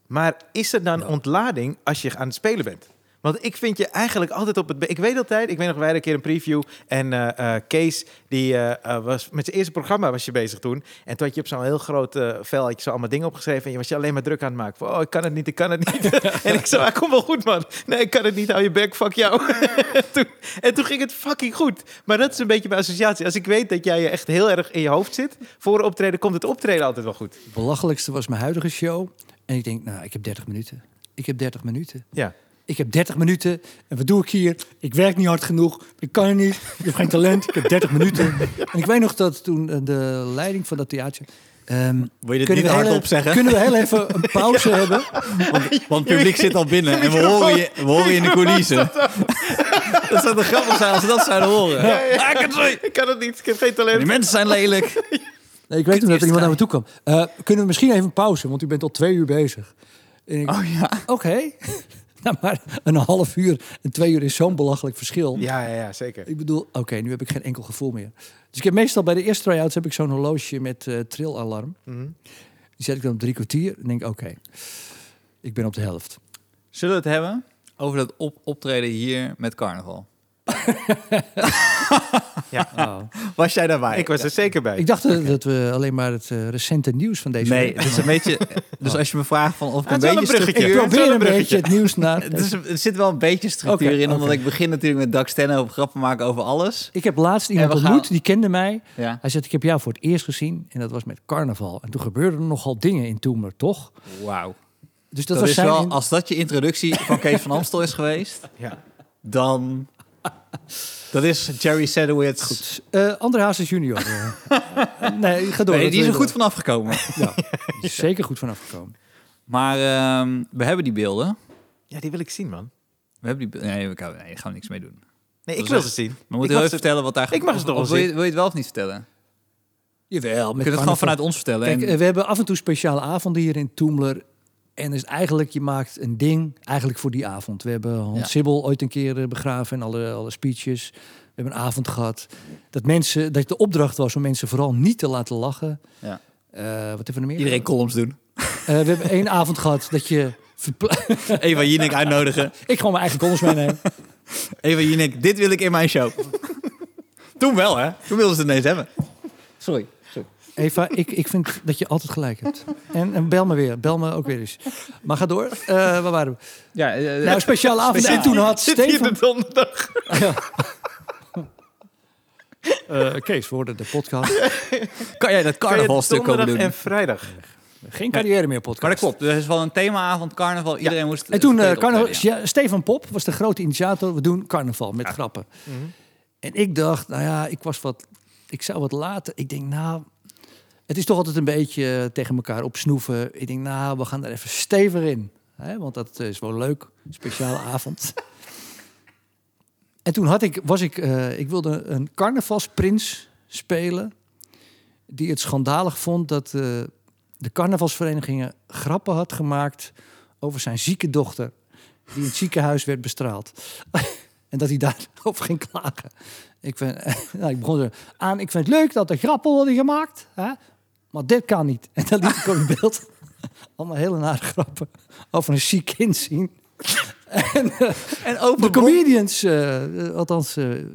Maar is er dan
Ja.
ontlading als je aan het spelen bent? Want ik vind je eigenlijk altijd op het... be- Ik weet altijd, ik weet nog, wij hadden een keer een preview. En eh, eh, Kees, die eh, eh, was met zijn eerste programma was je bezig toen. En toen had je op zo'n heel groot eh, vel, had je zo allemaal dingen opgeschreven. En je was je alleen maar druk aan het maken. Van, oh, ik kan het niet, ik kan het
[LAUGHS]
niet. en ik zei, ah, kom wel goed, man. Nee, ik kan het niet, hou je bek, fuck jou. toen, en toen ging het fucking goed. Maar dat is een beetje mijn associatie. Als ik weet dat jij je echt heel erg in je hoofd zit voor een optreden, komt het optreden altijd wel goed.
Het belachelijkste was mijn huidige show. En ik denk, nou, ik heb 30 minuten. Ik heb 30 minuten.
Ja.
Ik heb 30 minuten. En wat doe ik hier? Ik werk niet hard genoeg. Ik kan het niet. Ik heb geen talent. Ik heb 30 minuten. En ik weet nog dat toen eh, de leiding van dat theater... ehm,
Wil je dit
kunnen,
niet
we
hard
heel,
opzeggen?
kunnen we heel even een
[LAUGHS]
pauze hebben?
Want, want het publiek zit al binnen en we horen je, we horen je in de coulissen. [LAUGHS] dat zou toch grappig zijn als ze dat zouden horen? Ah, ik het niet.
Ik kan het niet, ik heb geen
Die
talent.
mensen zijn lelijk.
Nee, ik weet nog dat er
Eerst
iemand naar me toe kwam. Eh, kunnen we misschien even een pauze? Want u bent al twee uur bezig. En ik,
Oh ja.
oké. [LAUGHS] nou, maar een half uur en twee uur is zo'n belachelijk verschil.
Ja, ja, ja, zeker.
Ik bedoel, oké, nu heb ik geen enkel gevoel meer. Dus ik heb meestal bij de eerste try-outs heb ik zo'n horloge met eh, trillalarm.
Mhm.
Die zet ik dan op drie kwartier en denk, oké, ik ben op de helft.
Zullen we het hebben over dat op optreden hier met carnaval?
[LAUGHS]
Was jij daarbij?
Oh. Ik was er zeker bij.
Ik dacht eh, dat we alleen maar het eh, recente nieuws van deze
nee,
week-
het is een beetje... Dus als je me vraagt van of ik
Ah,
een
het is wel
beetje
een bruggetje.
Ik
het is wel
probeer
een
een beetje
bruggetje.
het nieuws
[LAUGHS]
naar...
Het is- er zit wel een beetje structuur
Oké,
in, omdat
oké.
ik begin natuurlijk met Doug Stenhope grappen maken over alles.
Ik heb laatst iemand
En we
ontmoet,
gaan-
die kende mij.
Ja.
Hij zegt, ik heb jou voor het eerst gezien en dat was met carnaval. En toen gebeurden er nogal dingen in Toemer, toch?
Wauw.
Dus dat,
Dat,
was
is
zijn...
wel, als dat je introductie van Kees van Amstel is geweest,
Ja.
dan... Dat is Jerry Sedowitz.
Eh, André Hazes junior.
[LAUGHS]
eh. nee, ga door.
nee,
dat
die
wil
is er
je
goed vanaf gekomen.
door. Ja, die is zeker goed vanaf gekomen.
[LAUGHS] Maar ehm, we hebben die beelden.
ja, die wil ik zien, man.
We hebben die be- nee, we kan, nee, daar gaan we niks mee doen.
Nee,
Dat
ik
is
wil
echt-
ze zien.
Maar we moeten
Ik
heel
mag
even vertellen wat daar
ik mag ze
of-
toch wel
of wil, je, wil je het wel of niet vertellen?
Jawel.
We
Met
kunnen het gewoon vanuit ons vertellen.
Kijk,
en-
eh, we hebben af en toe speciale avonden hier in Toemler. En is eigenlijk, je maakt een ding eigenlijk voor die avond. We hebben Hans
Ja.
Sibbel ooit een keer eh, begraven en alle, alle speeches. We hebben een avond gehad. Dat, mensen, dat de opdracht was om mensen vooral niet te laten lachen.
Ja.
Eh, wat hebben we nog meer?
Iedereen columns doen. [LAUGHS]
Eh, we hebben één avond gehad dat je... verpla- [LAUGHS]
Eva Jinek uitnodigen.
Ik gewoon mijn eigen columns meenemen.
Eva Jinek, dit wil ik in mijn show. Toen wel, hè? Toen wilden ze het ineens hebben.
Sorry. Eva, ik, ik vind dat je altijd gelijk hebt. En, en bel me weer. Bel me ook weer eens. Maar ga door. Eh, waar waren we?
Ja,
Nou, speciale avond. En toen had
Zit hier
Steven...
de donderdag.
Eh, Kees, we hoorden de podcast.
kan jij dat
Kan je
carnavalstuk komen doen?
Donderdag en vrijdag.
Geen carrière meer podcast.
Maar dat klopt. Er is wel een themaavond carnaval. Iedereen moest...
En toen, eh,
optreden,
carnaval,
ja.
Ja, Stefan Pop was de grote initiator. We doen carnaval met grappen. En ik dacht, nou ja, ik was wat... Ik zou wat later... Ik denk, nou... Het is toch altijd een beetje eh, tegen elkaar opsnoeven. Ik denk, nou, we gaan er even stevig in. Hè? Want dat eh, is wel leuk. Speciale avond. En toen had ik, was ik... eh, ik wilde een carnavalsprins spelen... die het schandalig vond dat eh, de carnavalsverenigingen grappen had gemaakt over zijn zieke dochter. Die in het ziekenhuis werd bestraald. [LAUGHS] en dat hij daarover ging klagen. Ik, vind, [LAUGHS] nou, ik begon er aan. Ik vind het leuk dat er grappen worden gemaakt. Hè? Maar dit kan niet. En dan liet ik op in beeld [LAUGHS] allemaal hele nare grappen over een ziek kind zien. [LAUGHS] en, eh,
En open
de
mond.
comedians, eh, eh, althans, eh, eh,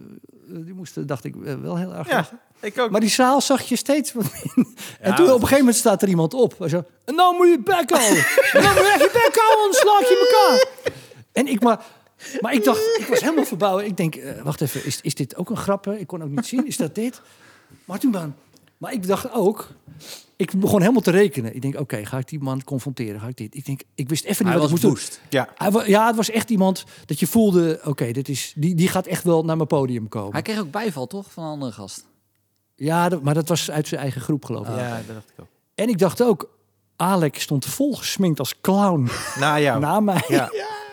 die moesten, dacht ik, eh, wel heel erg
Ja, ik ook.
maar die zaal zag je steeds wat minder. En
Ja.
toen op een gegeven moment staat er iemand op. En zo, en nou moet je je bek houden.
[LAUGHS]
En nou moet je echt je bek houden, anders slaat je elkaar. En ik maar... Maar ik dacht, ik was helemaal verbouwd. Ik denk, eh, wacht even, is, is dit ook een grap? hè? Ik kon ook niet zien, is dat dit? Maar toen dan... Maar ik dacht ook... Ik begon helemaal te rekenen. Ik denk, oké, ga ik die man confronteren? Ga ik dit? Ik denk, ik wist even niet
Hij
wat
was
ik moest doen.
woest.
Ja.
Hij wa- Ja, het was echt iemand dat je voelde... Oké, dit is die, die gaat echt wel naar mijn podium komen.
Hij kreeg ook bijval, toch? Van een andere gast.
Ja, dat- maar dat was uit zijn eigen groep, geloof ik.
Ah,
Ja, dat dacht ik ook.
En ik dacht ook, Alex stond volgesminkt als clown
Na jou.
na mij.
Ja.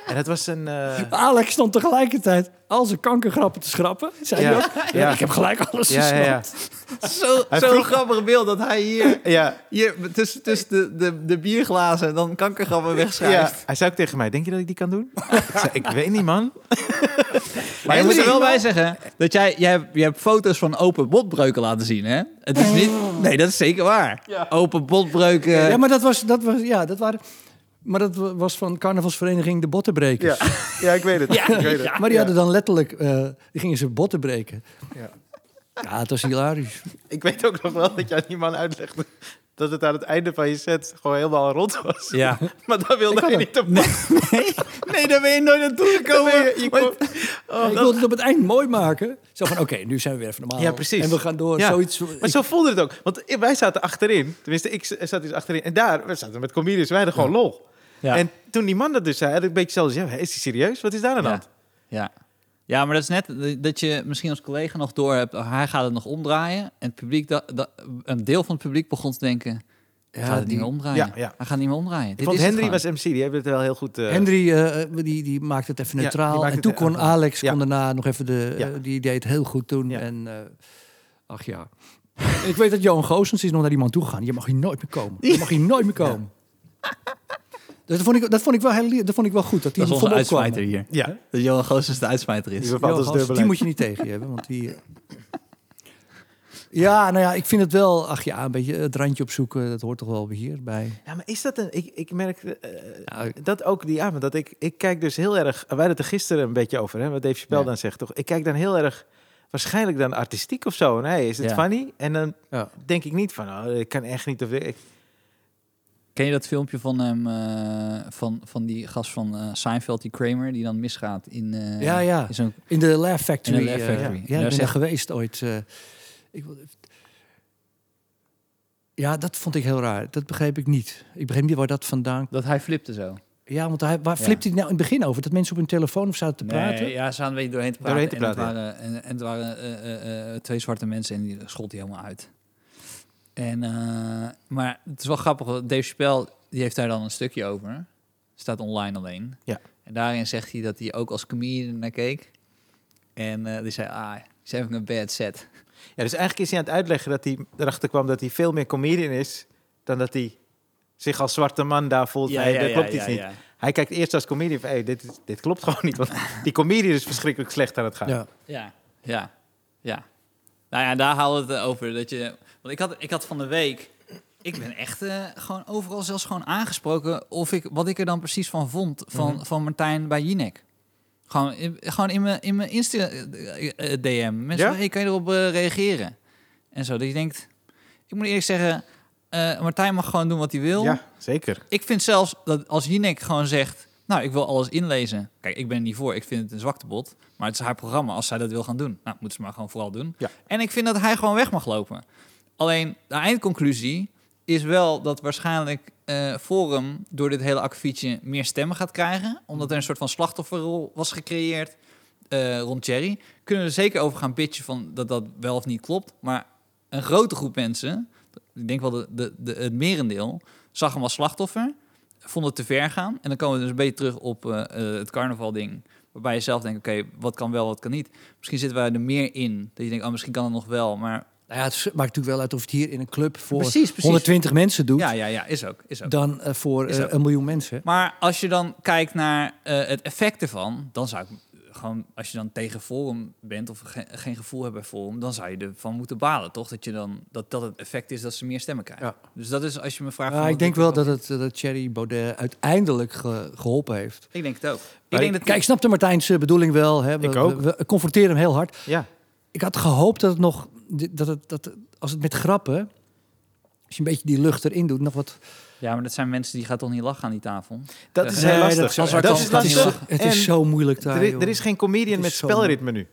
En het was een... eh,
Alex stond tegelijkertijd al zijn kankergrappen te schrappen. Zei
Ja.
hij ook. Ja,
Ja.
Ik heb gelijk alles
Ja, ja,
gesnapt.
ja.
Zo- Zo'n
Hij vroeg-
grappig beeld dat hij hier...
Ja,
Hier, tussen tussen de, de, de bierglazen dan kankergrappen
ja.
wegschrijft.
Hij zei ook tegen mij, denk je dat ik die kan doen? ik zei, ik weet niet, man.
Maar je
En
moet er
die-
wel bij zeggen dat jij, jij, hebt- je hebt foto's van open botbreuken laten zien, hè? Het is niet... Nee, dat is zeker waar. Open botbreuken...
Ja, maar dat was, dat was, ja, dat waren... Maar dat wa- was van carnavalsvereniging De Bottenbrekers.
Ja. ja, ik weet het. ik weet het.
Maar die
Ja.
hadden dan letterlijk, eh, die gingen ze botten breken.
Ja.
Ja, het was hilarisch.
Ik weet ook nog wel dat je aan die man uitlegde dat het aan het einde van je set gewoon helemaal rond was.
Ja.
Maar daar wilde
Ik had
hij
het.
niet op. Nee,
[LAUGHS] Nee, daar ben je nooit naartoe
Kom,
gekomen.
je, je kon- Oh,
ik wilde het op het eind mooi maken. Zo van, oké, nu zijn we weer even normaal.
Ja, precies.
En we gaan door.
Ja.
Zoiets,
Maar zo voelde het ook. Want wij zaten achterin. Tenminste, ik zat dus achterin. En daar we zaten met comedians. Wij hadden gewoon lol.
Ja.
En toen die man dat dus zei, had ik een beetje zelfs... Ja, is hij serieus? Wat is daar aan de
Ja.
hand?
Ja. ja, maar dat is net dat je misschien als collega nog door hebt. oh, hij gaat het nog omdraaien. En het publiek, dat, dat, een deel van het publiek begon te denken: hij gaat het niet meer omdraaien.
Ja, ja.
Hij gaat niet meer omdraaien.
Ik vond Henry was MC. Die hebben het wel heel goed... eh,
Henry, eh, die, die maakte het even
Ja, die
neutraal.
maakte
en toen
het
kon
neutraal.
Alex
Ja.
kon daarna nog even de... eh,
Ja.
die deed het heel goed toen.
Ja.
En, eh, ach ja. ik weet dat Johan Goosens is nog naar die man toe gegaan. Je mag hier nooit meer komen. Je mag hier nooit meer komen. Dus dat vond, ik, dat vond ik wel heel, dat vond ik wel goed. Dat, die
dat is
voor
onze
me opkwam.
uitsmijter hier.
Ja,
Dat Johan Goossens de uitsmijter is.
die bepaalt ons
Johan
dubbel.
Goosens, die moet je niet tegen je hebben, want die... eh. Ja, nou ja, ik vind het wel... Ach ja, een beetje het randje opzoeken, dat hoort toch wel hier bij.
Ja, maar is dat een... Ik, ik merk eh,
Ja,
dat ook die avond. Dat ik, ik kijk dus heel erg... Wij hadden het er gisteren een beetje over, hè, wat Dave Chappelle
Ja.
dan zegt, toch? Ik kijk dan heel erg... Waarschijnlijk dan artistiek of zo. Nee, is het
Ja.
funny? En dan
Ja.
denk ik niet van... Oh, ik kan echt niet... Of, ik,
Ken je dat filmpje van hem, eh, van, van die gast van eh, Seinfeld, die Kramer, die dan misgaat in, eh,
Ja, ja.
in zo'n...
In de Laugh Factory.
In de Laugh
eh,
Factory. Nou,
ja,
Daar
ik ben daar
zegt-
geweest ooit. eh, ik wil even- Ja, dat vond ik heel raar. Dat begreep ik niet. Ik begreep niet waar dat vandaan
Dat hij flipte zo.
Ja, want hij, waar
Ja.
flipt hij nou in het begin over? Dat mensen op hun telefoon of zaten te praten?
Nee, ja, ze hadden een beetje doorheen te praten.
Doorheen te
en,
praten,
het waren, en, en het waren eh, eh, eh, twee zwarte mensen en die schold die helemaal uit. En, eh, maar het is wel grappig, want Dave Chappelle die heeft daar dan een stukje over. Staat online alleen.
Ja.
En daarin zegt hij dat hij ook als comedian naar keek. En eh, die zei, ah, he's having a bad set.
Ja, dus eigenlijk is hij aan het uitleggen dat hij erachter kwam dat hij veel meer comedian is dan dat hij zich als zwarte man daar voelt. nee, dat klopt iets niet. Hij kijkt eerst als comedian van, hey, dit, is- dit klopt [LAUGHS] gewoon niet. Want die comedian is verschrikkelijk slecht aan het gaan.
Ja.
Ja, ja, ja. Nou ja, daar haalde het eh, over. Dat je, want ik had, ik had van de week. Ik ben echt eh, gewoon overal zelfs gewoon aangesproken. Of ik, wat ik er dan precies van vond. Van,
Mhm.
van Martijn bij Jinek. Gewoon in, gewoon in mijn, in mijn eh, Insta-DM. Mensen,
Ja?
van, hey, kan je erop eh, reageren? En zo. Dat je denkt. Ik moet eerlijk zeggen. eh, Martijn mag gewoon doen wat hij wil.
Ja, zeker.
Ik vind zelfs dat als Jinek gewoon zegt... Nou, ik wil alles inlezen. Kijk, ik ben er niet voor. Ik vind het een zwaktebod. Maar het is haar programma. Als zij dat wil gaan doen, nou, moeten ze maar gewoon vooral doen.
Ja.
En ik vind dat hij gewoon weg mag lopen. Alleen, de eindconclusie is wel dat waarschijnlijk eh, Forum... door dit hele akkefietje meer stemmen gaat krijgen. Omdat er een soort van slachtofferrol was gecreëerd eh, rond Thierry. Kunnen we er zeker over gaan bitchen van dat dat wel of niet klopt. Maar een grote groep mensen, ik denk wel de, de, de, het merendeel... zag hem als slachtoffer vond het te ver gaan. En dan komen we dus een beetje terug op eh, eh, het carnaval-ding. Waarbij je zelf denkt: oké, wat kan wel, wat kan niet. Misschien zitten wij er meer in. Dat je denkt: oh, misschien kan het nog wel. Maar
Nou ja, het maakt natuurlijk wel uit of het hier in een club voor
Precies, precies.
120 mensen doet...
ja, ja, ja, is ook. Is ook.
dan eh, voor
Is
eh,
ook.
een miljoen mensen.
Maar als je dan kijkt naar eh, het effect ervan, dan zou ik eh, gewoon, als je dan tegen Forum bent of ge- geen gevoel hebt bij Forum, dan zou je ervan moeten balen, toch? Dat, je dan, dat, dat het effect is dat ze meer stemmen krijgen.
Ja.
Dus dat is als je me vraagt.
Maar
van,
ik
wat
denk wel dat, het, eh, dat Thierry Baudet uiteindelijk ge- geholpen heeft.
Ik denk het ook. Ik
Maar
denk
ik-
dat
Kijk, ik snapte Martijn's eh, bedoeling wel. Hè. We,
Ik ook.
We, we confronteren hem heel hard.
Ja,
Ik had gehoopt dat het nog... Dat het, dat, het- als het met grappen... Als je een beetje die lucht erin doet, nog wat...
Ja, maar dat zijn mensen die gaan toch niet lachen aan die tafel.
dat is
Nee,
heel
dat
lastig.
is-
Als er
Eh, dat
kan,
is
kan niet
lastig.
lachen.
Het is
En
zo moeilijk daar,
Er, i-
joh.
er is geen comedian
Het
met
is zo-
spelritme nu.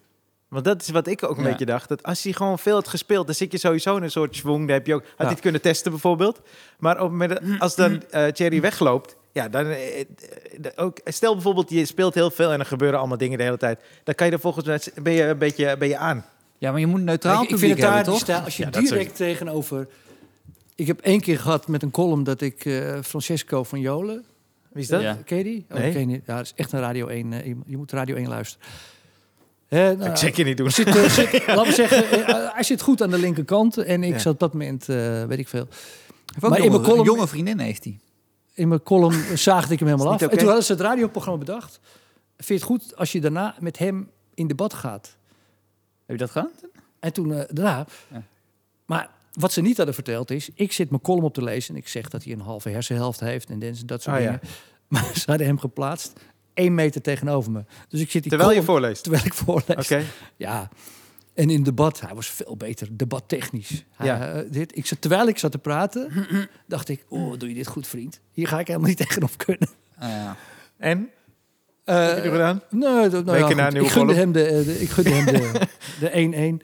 Want dat is wat ik ook een
Ja.
beetje dacht. Dat als je gewoon veel had gespeeld, dan zit je sowieso in een soort schwung. Dan heb je ook, had
Ja.
dit kunnen testen bijvoorbeeld. Maar op, het moment- als dan eh Thierry wegloopt, ja, dan, eh, eh, de- ook, stel bijvoorbeeld je speelt heel veel en er gebeuren allemaal dingen de hele tijd. Dan kan je er volgens mij ben je een beetje ben je aan.
Ja, maar je moet een
ik,
neutraal
ik vind
publiek
het daar,
hebben,
die
toch?
sta- als je
Ja, dat
direct tegenover... Ik heb één keer gehad met een column dat ik eh, Francesco van Jolen...
Wie is dat?
Ja.
Ken je die? Oh,
Nee.
ken je niet. Ja, dat is echt een Radio 1. eh, je, je moet Radio 1 luisteren. Eh, nou,
Ik check je niet doen.
[LAUGHS] Zit, eh,
[LAUGHS]
zit, Laten we zeggen, eh, hij zit goed aan de linkerkant. En ik
Ja.
zat op dat moment, eh, weet ik veel...
Heeft ook
Maar in
jonge,
mijn column-
jonge vriendin heeft hij.
in mijn
[LAUGHS]
column zaagde ik hem helemaal
Is niet
af. En
oké.
toen hadden ze het radioprogramma bedacht. Vind je het goed als je daarna met hem in debat gaat?
Heb je dat gedaan?
En toen eh, daarna.
Ja.
Maar wat ze niet hadden verteld is, ik zit mijn column op te lezen en ik zeg dat hij een halve hersenhelft heeft en dit en dat soort
Ah, ja.
dingen. [LAUGHS] Maar ze hadden hem geplaatst één meter tegenover me. Dus ik zit die
Terwijl je
column-
voorleest.
terwijl ik voorlees.
Oké.
Ja. En in debat, hij was veel beter debattechnisch. Hij,
Ja.
eh, dit, ik zat, terwijl ik zat te praten, dacht ik, oh, doe je dit goed, vriend? Hier ga ik helemaal niet [LAUGHS] tegenop kunnen.
Ah, ja.
En? Heb je
Eh
het gedaan?
nee, dat- nou ja,
Weken na
goed.
nieuwe
ik gunde
golf.
hem de, eh, de- ik gunde hem
[LAUGHS]
de- de 1-1.
Nou,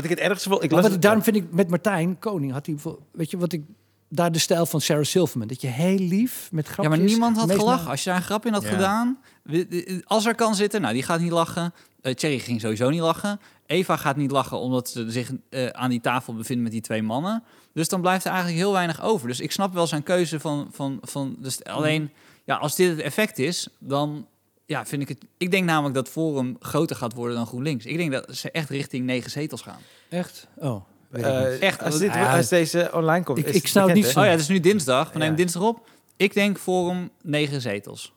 wat ik het ergste vond... Ik
Maar
las
wat-
het-
daarom vind ik met Martijn Koning had hij bijvoorbeeld- weet je wat ik daar de stijl van Sarah Silverman dat je heel lief met grapjes.
ja, maar niemand had
meest-
gelachen. Als je daar een grap in had
Ja.
gedaan, wi- i- als er kan zitten, nou, die gaat niet lachen. Eh Thierry ging sowieso niet lachen. Eva gaat niet lachen omdat ze zich eh, aan die tafel bevindt met die twee mannen. Dus dan blijft er eigenlijk heel weinig over. Dus ik snap wel zijn keuze van... van, van dus
Mhm.
alleen, ja, als dit het effect is, dan ja, vind ik het... Ik denk namelijk dat Forum groter gaat worden dan GroenLinks. Ik denk dat ze echt richting negen zetels gaan.
echt. Oh, weet ik niet.
eh,
Echt,
als, dit,
ja,
als deze online komt...
ik-
is
ik zou het
bekend,
niet
hè?
Oh ja, het is nu dinsdag. We
Ja.
nemen dinsdag op. Ik denk Forum negen zetels.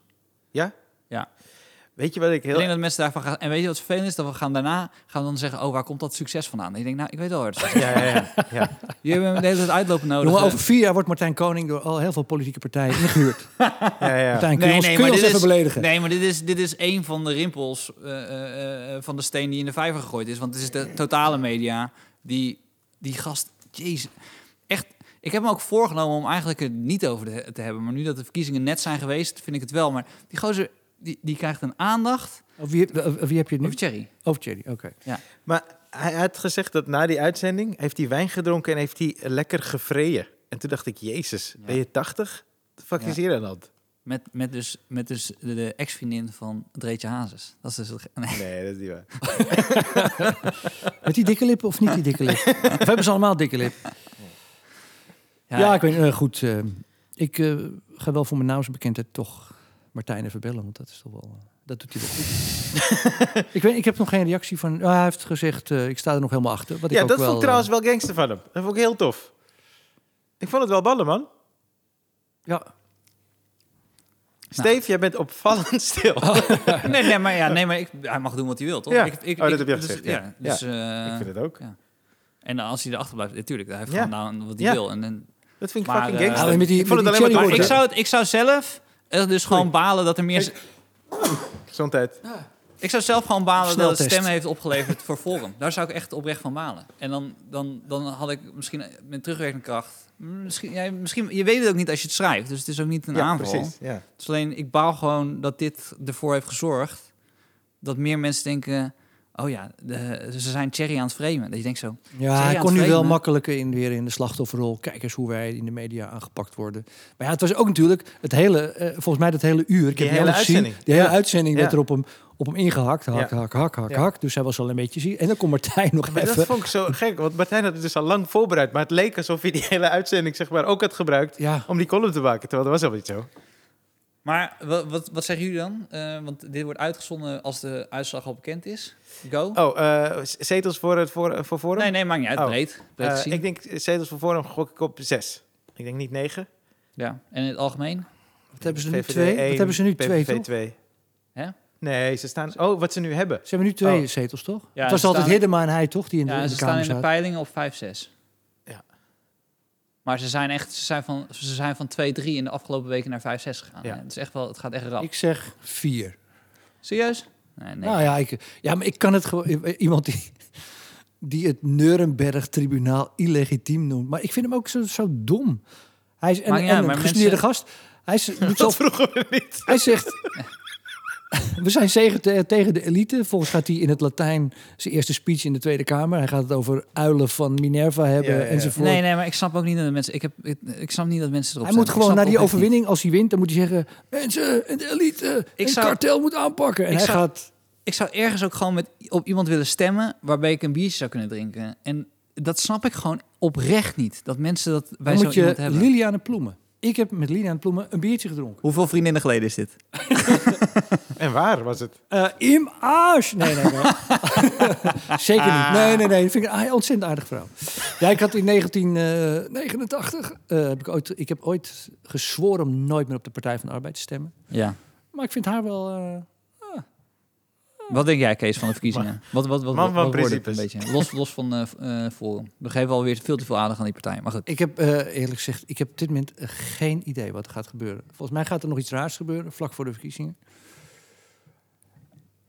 Weet je wat ik
Ik
heel...
e-
denk dat mensen daarvan gaan. En weet je wat vervelend is? Dat we gaan daarna gaan dan zeggen: Oh, waar komt dat succes vandaan? En ik denk, nou, ik weet wel waar
[LAUGHS]
het
[LAUGHS] Ja, ja, ja. ja.
Jullie hebben de hele tijd uitlopen nodig.
eh,
Jongen, over vier jaar wordt Martijn Koning door al heel veel politieke partijen
[LAUGHS]
ingehuurd.
ja,
[LAUGHS]
ja.
Martijn, kun je ons, kun je ons
dit
even
is,
beledigen?
Nee, maar dit is, dit is één van de rimpels eh, eh, eh, van de steen die in de vijver gegooid is. Want het is de totale media die, die gast. Jezus. Echt. Ik heb me ook voorgenomen om eigenlijk het niet over te- te hebben. Maar nu dat de verkiezingen net zijn geweest, vind ik het wel. Maar die gozer die, die krijgt een aandacht.
Of wie, of wie heb je het nu?
Over Thierry.
Over Thierry, oké.
Maar hij had gezegd dat na die uitzending heeft hij wijn gedronken en heeft hij lekker gevreden. En toen dacht ik, jezus,
Ja.
ben je 80? Wat fuck
Ja.
is hier aan de hand?
Met, met dus, met dus de, de ex-vriendin van Dreetje Hazes. Dat is dus het ge- nee.
Nee, dat is niet waar.
Met die dikke lippen of niet die dikke
[LAUGHS]
lip? of hebben ze allemaal dikke lip? Ja, ik weet eh, goed. eh, ik eh, ga wel voor mijn naamsbekendheid toch Martijn even bellen, want dat is toch wel. eh, dat doet hij wel goed.
[LAUGHS]
ik, weet, ik heb nog geen reactie van. ah, hij heeft gezegd, eh, ik sta er nog helemaal achter. Wat ik
Ja,
ook
dat
wel, eh,
vond ik trouwens wel gangster van hem. Dat vond ik heel tof. Ik vond het wel ballen, man.
eh, ja,
Steve, jij bent opvallend [LAUGHS] stil.
Oh,
[LAUGHS]
nee, nee, maar, ja, nee, maar ik, hij mag doen wat hij wil, toch?
Ja.
Ik, ik,
Oh, dat
ik-
heb je al
dus-
gezegd, ja.
Ja, dus, eh,
ik vind het ook.
En als hij erachter blijft, natuurlijk. Hij heeft
Ja.
gedaan wat hij
Ja.
wil. En, en,
Dat vind ik
Maar,
fucking
eh,
gangster.
alleen Nou, met die-
ik vond
met
het
die
alleen maar
cherry
maar ik
door.
zou, het, ik zou zelf eh, dus gewoon balen dat er meer...
Gezondheid.
Ik zou zelf gewoon balen dat het
Sneltest.
stem heeft opgeleverd voor Forum. Daar zou ik echt oprecht van balen. En dan, dan, dan had ik misschien met terugwerkende kracht... mm, Misschien, jij misschien, je weet het ook niet als je het schrijft. Dus het is ook niet een
ja,
aanval.
precies. Ja.
Het is alleen, ik baal gewoon dat dit ervoor heeft gezorgd dat meer mensen denken: oh ja, de- ze zijn Cherry aan het framen. Dat je denkt zo.
ja
aan
hij
het
kon nu wel
framen?
makkelijker in, weer in de slachtofferrol. Kijk eens hoe wij in de media aangepakt worden. Maar ja, het was ook natuurlijk het hele, eh, volgens mij dat hele uur. Ik
Die
heb
hele
hele gezien.
uitzending.
De hele
Ja.
uitzending werd
Ja.
er op hem, op hem ingehakt. Hak,
Ja.
hak, hak, hak,
Ja.
hak. Dus hij was al een beetje ziek. En dan kon Martijn nog
Maar
even.
dat vond ik zo gek, want Martijn had het dus al lang voorbereid. Maar het leek alsof hij die [LAUGHS] hele uitzending zeg maar, ook had gebruikt
Ja.
om die column te maken. Terwijl dat was al niet zo.
Maar wat, wat, wat zeggen jullie dan? Eh, want dit wordt uitgezonden als de uitslag al bekend is. Go.
Oh, eh, z- zetels voor, het voor, voor Forum?
nee, nee, maakt niet uit.
Oh.
Breed. breed
Eh,
gezien.
ik denk zetels voor Forum gok ik op zes. Ik denk niet negen.
ja. En in het algemeen?
Wat hebben ze nu?
VVD
Twee?
één,
Wat hebben ze nu? Twee,
PVV
toch?
twee.
Hè?
Nee, ze staan... Oh, wat ze nu hebben. [LAUGHS]
Ze hebben nu twee
Oh.
zetels, toch?
Ja,
het was
ze
altijd
staan-
Hiddema en hij, toch? Die in de,
Ja,
in
ze
de
staan
Kamer
in de
zaten.
peilingen op 5-6.
Ja.
Maar ze zijn echt, ze zijn van, ze zijn van 2-3 in de afgelopen weken naar 5-6 gegaan.
Ja.
hè. Het is echt wel, het gaat echt rap.
Ik zeg vier.
Serieus? Nee, nee.
Nou ja, ik, ja, maar ik kan het gewoon... Iemand die, die het Nuremberg-tribunaal illegitiem noemt. Maar ik vind hem ook zo, zo dom. Hij is en,
Maakt niet
en
uit,
een
maar
gestudeerde
mensen-
gast. Hij, is,
[LAUGHS]
doet
Dat
zelf-
vroegen we niet.
hij zegt... [LAUGHS] We zijn zegen te- tegen de elite. Volgens gaat hij in het Latijn zijn eerste speech in de Tweede Kamer. Hij gaat het over uilen van Minerva hebben
Ja, ja, ja.
enzovoort.
Nee, nee, maar ik snap ook niet dat de mensen. Ik, heb, ik, ik snap niet dat mensen erop.
Hij
stemmen.
moet gewoon
Ik
naar
snap
die
oprecht
overwinning,
niet.
als hij wint, dan moet hij zeggen... Mensen, en de elite,
Ik
ik
zou-
kartel moet aanpakken. En
ik
hij
zou-
gaat...
Ik zou ergens ook gewoon met, op iemand willen stemmen waarbij ik een biertje zou kunnen drinken. En dat snap ik gewoon oprecht niet. Dat mensen dat bij
Dan
zo
moet je
iemand hebben.
Liliane Ploemen. Ik heb met Liliane Ploemen een biertje gedronken.
Hoeveel vriendinnen geleden is dit?
En waar was het?
Eh Im Aars! Nee, nee,
[LAUGHS]
nee. Zeker niet. Nee, nee, nee. Dat vind ik een ontzettend aardige vrouw. Ja, ik had in 1989... eh, heb ik, ooit, ik heb ooit gezworen om nooit meer op de Partij van de Arbeid te stemmen.
Ja.
Maar ik vind haar wel... eh, ah,
Wat denk jij, Kees, van de verkiezingen? Wat, wat, wat,
Man
wat,
van
wat wordt het een
principes.
beetje? Los, los van eh, v- eh, Forum. We geven alweer veel te veel aandacht aan die partij. Maar goed,
Ik heb eh, eerlijk gezegd, ik heb op dit moment eh, geen idee wat er gaat gebeuren. Volgens mij gaat er nog iets raars gebeuren, vlak voor de verkiezingen.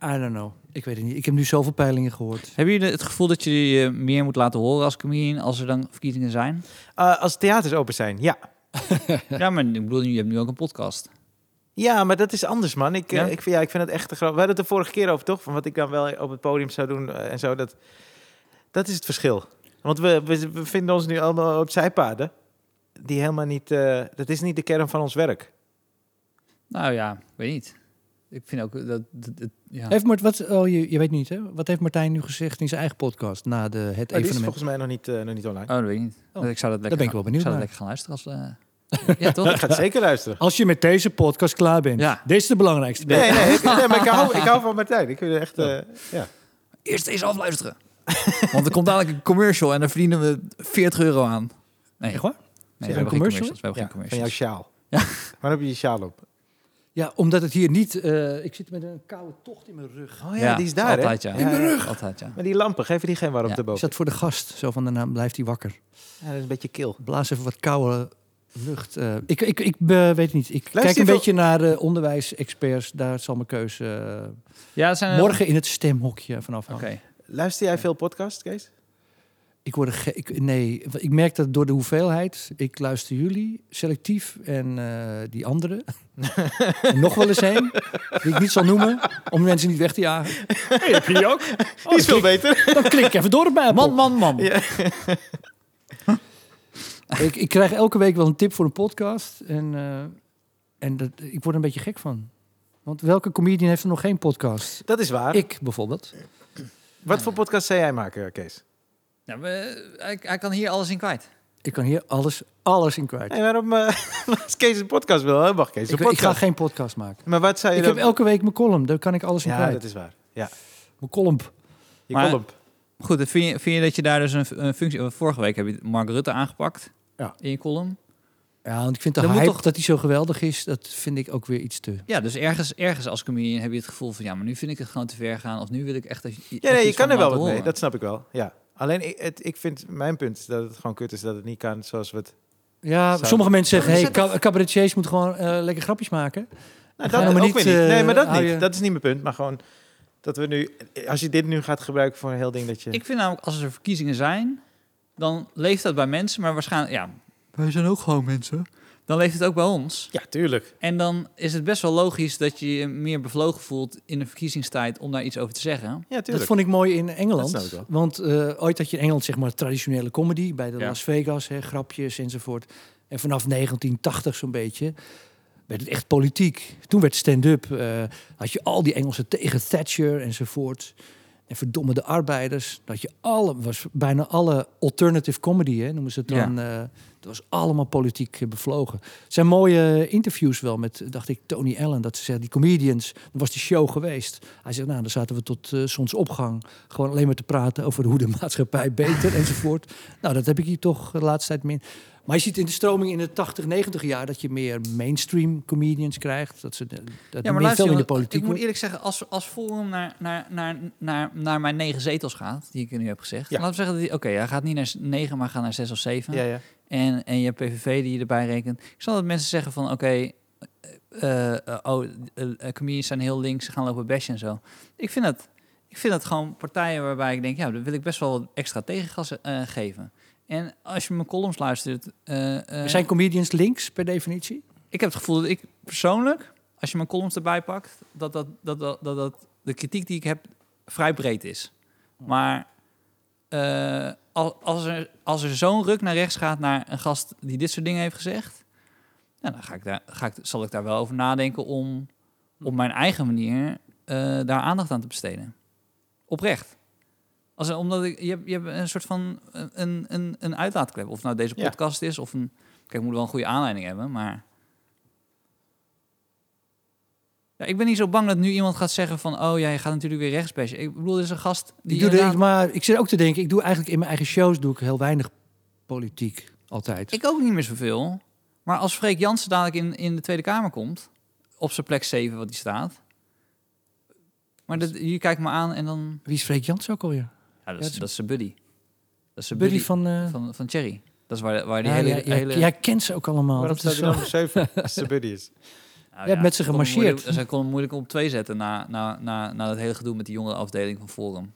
I don't know. Ik weet het niet. Ik heb nu zoveel peilingen gehoord.
hebben jullie het gevoel dat je je meer moet laten horen als comedian als er dan verkiezingen zijn?
Eh, als theaters open zijn, ja.
ja, maar ik bedoel, je hebt nu ook een podcast.
Ja, maar dat is anders, man. Ik, eh,
Ja?
ik, vind- ja, ik vind het echt te groot. We hadden het de vorige keer over, toch? Van wat ik dan wel op het podium zou doen eh, en zo. Dat, dat is het verschil. Want we, we, we vinden ons nu allemaal op zijpaden. Die helemaal niet... eh, dat is niet de kern van ons werk.
Nou ja, weet niet. Ik vind ook dat... dat- dat- ja.
Heeft Mart, wat, oh, je, je weet niet, hè? Wat heeft Martijn nu gezegd in zijn eigen podcast na de, het
Maar die is
evenement?
volgens mij nog niet, eh, nog niet online.
Oh, dat weet ik niet.
Oh,
ik zou dat lekker
ben ik wel benieuwd
zou dat
naar.
lekker gaan luisteren als... eh, [LAUGHS] ja, toch?
Ik ga het zeker
[LAUGHS]
luisteren.
Als je met deze podcast klaar bent.
Ja.
Dit is de belangrijkste.
Nee, nee, ik- nee, maar ik hou, ik hou van Martijn. Ik vind het echt... eh, ja.
Eerst deze afluisteren. Want er komt dadelijk een commercial en daar verdienen we 40 euro aan. Nee,
Echt waar?
Nee,
Zijn
we
er
hebben geen
commercials?
commercials. We hebben
Ja,
geen
van jouw
commercials.
sjaal. [LAUGHS]
Ja.
Waar heb je je sjaal op?
Ja, omdat het hier niet... eh, ik zit met een koude tocht in mijn rug.
Oh ja, die is daar,
altijd,
hè?
Ja.
Ja, ja.
Altijd, ja.
Maar die lampen, geven die geen warmte
Ja,
Is
boven?
dat voor de gast? Zo van, daarna blijft hij wakker.
Ja, dat is een beetje kil.
Blaas even wat koude lucht. eh. ik ik, ik eh, weet niet. Ik kijk
je
een
wel-
beetje naar eh, onderwijsexperts. Daar zal mijn keuze eh,
ja zijn er-
morgen in het stemhokje vanaf
Oké.
hangen.
Luister jij veel podcast, Kees?
Ik word er ge- ik, nee, want ik merk dat door de hoeveelheid. Ik luister jullie selectief en eh, die
[LAUGHS]
andere. En nog wel eens één, die ik niet zal noemen, om mensen niet weg te jagen. Hey, heb je die ook?
Die is veel beter.
Dan klik ik even door op mij.
Man, man, man.
Ja.
Ik, ik krijg elke week wel een tip voor een podcast. En, eh, en dat, ik word er een beetje gek van. Want welke comedian heeft er nog geen podcast?
Dat is waar.
Ik bijvoorbeeld.
Wat voor podcast zou jij maken, Kees?
Ja, we- hij, hij kan hier alles in kwijt.
Ik kan hier alles, alles in kwijt.
Nee, waarom eh, [LAUGHS] als Kees een podcast wil, hè, mag Kees een
Ik, ik
podcast.
ga geen podcast maken.
Maar wat zou je
Ik
dan...
heb elke week mijn column. Daar kan ik alles in
Ja,
kwijt.
dat is waar. Ja.
Mijn column.
Je
Maar-
column.
Goed, dan vind je, vind je dat je daar dus een, f- een functie... Vorige week heb je Mark Rutte aangepakt
Ja.
in je column.
Ja, want ik vind de
Er moet
hype
toch-
dat hij zo geweldig is, dat vind ik ook weer iets te.
Ja, dus ergens, ergens als comedian heb je het gevoel van... ja, maar nu vind ik het gewoon te ver gaan. Of nu wil ik echt... Dat je,
Ja, nee, je
iets van
kan er
me
wel
laat
wat mee.
horen.
Dat snap ik wel. Ja. Alleen, ik, het, ik vind mijn punt is dat het gewoon kut is dat het niet kan zoals we het...
Ja,
Zou-
sommige mensen zeggen,
Ja,
hey,
maar
ka- cabaretiers moeten gewoon eh, lekker grapjes maken.
Nou,
Ga
dat
nou
ook
maar
niet,
niet,
weer niet. Nee, maar
eh,
dat
hou
niet.
je-
Dat is niet mijn punt. Maar gewoon dat we nu... Als je dit nu gaat gebruiken voor een heel ding dat je...
Ik vind namelijk, als er verkiezingen zijn... dan leeft dat bij mensen, maar waarschijnlijk... ja, wij zijn ook gewoon mensen. Dan leeft het ook bij ons.
Ja, tuurlijk.
En dan is het best wel logisch dat je je meer bevlogen voelt in de verkiezingstijd om daar iets over te zeggen.
Ja,
Dat
tuurlijk.
vond ik mooi in
Dat snap
Engeland.
ik
Want eh, ooit had je in Engeland zeg maar traditionele comedy bij de
Ja.
Las Vegas, hè, grapjes enzovoort. En vanaf 1980 zo'n beetje werd het echt politiek. Toen werd stand-up. eh, had je al die Engelsen tegen Thatcher enzovoort. En verdomme de arbeiders. Dat je alle, was bijna alle alternative comedy, hè, noemen ze het
Ja.
dan. eh, het was allemaal politiek eh, bevlogen. Het zijn mooie eh, interviews wel met, dacht ik, Tony Allen. Dat ze zeggen, die comedians, dan was die show geweest. Hij zegt, nou, dan zaten we tot eh, zonsopgang gewoon alleen maar te praten over hoe de [LAUGHS] maatschappij beter enzovoort. Nou, dat heb ik hier toch de laatste tijd min. Maar je ziet in de stroming in de 80, 90 jaar dat je meer mainstream comedians krijgt. Dat ze de- dat meer veel in de
jongen,
politiek
ik moet
wordt.
eerlijk zeggen, als, als Forum naar, naar, naar, naar, naar mijn negen zetels gaat, die ik nu heb gezegd.
Ja.
Laten we zeggen, dat die- oké, hij gaat niet naar s- negen, maar gaat naar zes of zeven.
Ja, ja.
En, en je hebt PVV die je erbij rekent. Ik zal dat mensen zeggen van, oké, eh, eh, oh, eh, eh, comedians zijn heel links, ze gaan lopen bashen en zo. Ik vind dat, ik vind dat gewoon partijen waarbij ik denk, ja, daar wil ik best wel wat extra tegengas eh, geven. En als je mijn columns luistert... eh, eh,
Maar Zijn comedians links per definitie?
ik heb het gevoel dat ik persoonlijk, als je mijn columns erbij pakt, dat, dat, dat, dat, dat, dat de kritiek die ik heb vrij breed is. Maar eh, al- als er, als er zo'n ruk naar rechts gaat naar een gast die dit soort dingen heeft gezegd, nou, dan ga ik daar, ga ik, zal ik daar wel over nadenken om op mijn eigen manier eh, daar aandacht aan te besteden. Oprecht. Als, een- omdat ik, je, hebt, je hebt een soort van een, een, een uitlaatklep. Of het nou deze
Ja.
podcast is of een... Kijk, ik moet wel een goede aanleiding hebben, maar... Ja, ik ben niet zo bang dat nu iemand gaat zeggen van... Oh ja, je gaat natuurlijk weer rechts bashen. Ik bedoel, er is een gast die...
Ik, doe er,
inderdaad-
ik, maar, ik zit ook te denken, ik doe eigenlijk in mijn eigen shows doe ik heel weinig politiek altijd.
Ik ook niet meer zoveel. Maar als Freek Jansen dadelijk in, in de Tweede Kamer komt, op zijn plek 7 wat hij staat. Maar dat, je kijkt me aan en dan...
Wie is Freek Jans ook alweer?
Ja, dat
dat
is,
is-
dat is zijn buddy. Dat is zijn buddy,
Buddy van... eh,
van, van, Thierry. Dat is waar, waar die
ja,
hele...
jij, jij-
hele
jij kent ze ook allemaal.
Waarom
Dat
staat
is
hij
zo...
dan op 7
[LAUGHS]
als de buddy is?
Nou
Je hebt met ze
ik kon hem
gemarcheerd.
moeilijk- Ze kon hem moeilijk op twee zetten na, na, na, na dat hele gedoe met die jongere afdeling van Forum.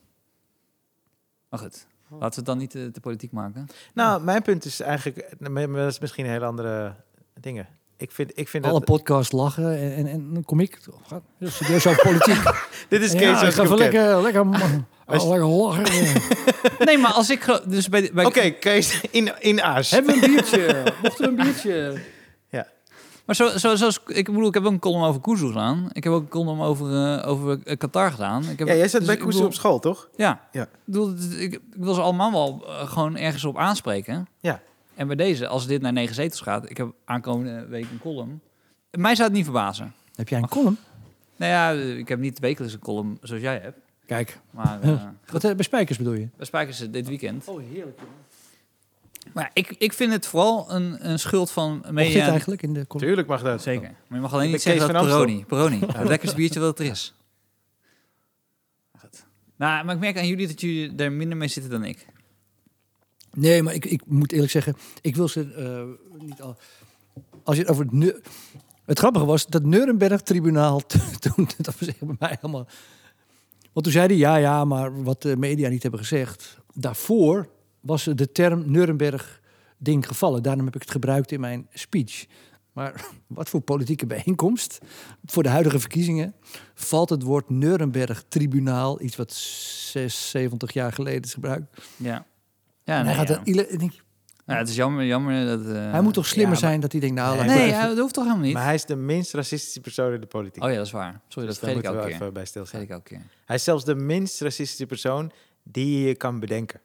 Maar goed, laten we het dan niet eh, te politiek maken.
Nou, mijn punt is eigenlijk, eh, maar dat is misschien een hele andere dingen. Ik vind, ik vind
Alle
dat,
podcasts lachen en, en, en dan kom ik. Oh, gaat- heel Serieus over
[LAUGHS]
politiek.
dit is Kees
Ja, ik
zoals
ga
ik
even
hem ken.
lekker,
[LAUGHS]
lekker, ma-
Als-
oh, lekker lachen.
Nee, maar als ik... gro- Dus bij, bij,
Oké, Kees, in, in aas.
Hebben we een biertje? Mochten we een biertje?
Maar zo, zo, zoals... Ik bedoel, ik heb ook een column over Kuzu gedaan. Ik heb ook een column over, eh, over eh, Qatar gedaan. Ik heb,
Ja, jij zat
dus
bij
ik
Koester
bedoel-
op school, toch?
Ja.
Ja.
Ik, bedoel, het- ik, ik wil ze allemaal wel eh, gewoon ergens op aanspreken.
Ja.
En bij deze, als dit naar negen zetels gaat... Ik heb aankomende week een column. Mij zou het niet verbazen.
Heb jij een column?
Nou ja, ik heb niet wekelijks een column zoals jij hebt.
Kijk.
Maar
[LAUGHS]
eh
Wat, eh, bij Spijkers bedoel je?
we spraken ze dit weekend.
Oh, heerlijk.
Maar ja, ik, ik vind het vooral een, een schuld van
Wat zit
media.
eigenlijk in de column?
Tuurlijk mag dat.
Zeker. Maar je mag alleen
Ik
niet
ben Kees
zeggen dat
van Amstel.
Peroni. [LAUGHS] Peroni. Nou, Het lekkerste biertje dat er is. Goed. Nou, maar ik merk aan jullie dat jullie er minder mee zitten dan ik.
Nee, maar ik, ik moet eerlijk zeggen, ik wil ze eh, niet al... Als je het over het... neu- Het grappige was dat Nuremberg-tribunaal [LAUGHS] toen... Dat was echt bij mij helemaal... Want toen zei hij, ja, ja, maar wat de media niet hebben gezegd... Daarvoor was de term Nuremberg-ding gevallen. Daarom heb ik het gebruikt in mijn speech. Maar [LAUGHS] wat voor politieke bijeenkomst, voor de huidige verkiezingen... valt het woord Nuremberg-tribunaal, iets wat 6, 70 jaar geleden is gebruikt...
Ja. Ja,
en
nee,
hij gaat
Ah, ja.
er ile- en ik-
Nou, het is jammer, jammer dat... eh,
hij moet toch slimmer
ja, maar-
zijn dat hij denkt, nou,
Nee,
laat
maar-
ik [LAUGHS]
Nee,
even-
ja, dat hoeft toch helemaal niet?
Maar hij is de minst racistische persoon in de politiek.
Oh ja, dat is waar. Sorry, dat
dus daar
vergeet ik
moeten we
elke
wel
keer.
even bij
Dat vergeet
stilstaan.
ik elke keer.
Hij is zelfs de minst racistische persoon die je kan bedenken.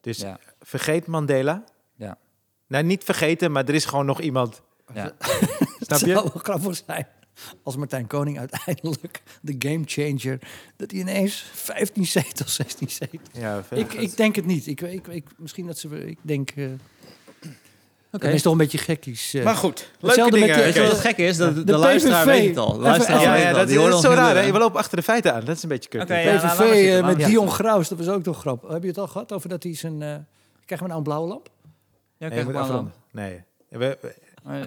Dus
Ja.
vergeet Mandela.
Ja.
Nou, niet vergeten, maar er is gewoon nog iemand.
Ja.
Snap
[LAUGHS]
het zou
je?
wel grappig zijn als Martijn Koning uiteindelijk de game changer, dat hij ineens 15 zetels, 16 zetels.
Ja,
Ik, ik denk het niet. Ik, ik, ik, misschien dat ze, ik denk, eh
Oké.
dat is toch een beetje gekkies. eh.
maar goed, leuke
Hetzelfde met
dingen.
de-
Weet je
Kees.
wat het gek is? Dat, de,
de
luisteraar
PVV.
weet het al. De
Even-
luisteraar
Ja,
weet
ja,
het al.
dat,
Die
dat
hoorde
is zo
ons niet
raar. Hè?
doen.
Je loopt achter de feiten aan. Dat is een beetje kut.
Oké, ja. nou, laat
PVV
maar zitten,
eh,
laat
met
maar
Dion Graus, dat was ook toch grappig. Heb je het al gehad over dat hij zijn, eh krijgen we nou een blauwe lamp?
Nee,
Ja,
je
kijk
moet
maar dan.
afronden. Nee. We- we-
Maar-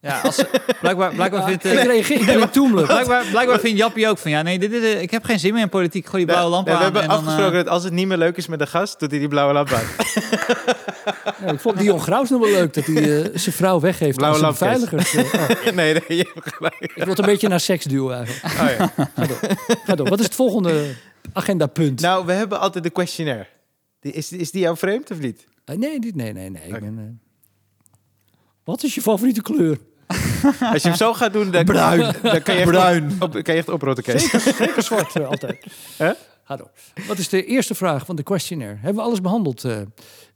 Ja, als, blijkbaar, blijkbaar, vindt, eh,
ik reageer in een toemler.
blijkbaar, blijkbaar vindt Jappie ook van... Ja, nee, dit is, eh, ik heb geen zin meer in politiek. Gooi die blauwe lamp
Nee,
aan.
We hebben
en dan, eh,
afgesproken dat als het niet meer leuk is met de gast, doet hij die blauwe lamp aan. [LAUGHS]
Ja, ik vond Dion Graus nog wel leuk dat hij eh, zijn vrouw weggeeft
Blauwe
aan zijn
lampjes.
beveiligers. eh.
[LAUGHS]
Ah,
nee, nee, je hebt gelijk.
ik wil het een beetje naar seks duwen eigenlijk.
Oh,
[LAUGHS]
ja.
Ga door. Ga door. Wat is het volgende agendapunt?
Nou, we hebben altijd de questionnaire. Die, is, is die jou vreemd of niet?
Eh, nee, dit, nee, nee, nee. Ik
Oké.
ben, eh, Wat is je favoriete kleur?
Als je hem zo gaat doen, dan,
Bruin.
[LAUGHS] dan kan, je echt
Bruin.
Op, kan je echt oprotten, Kees.
Zeker, zeker zwart eh, altijd.
Hè?
Ga door. Wat is de eerste vraag van de questionnaire? Hebben we alles behandeld? eh?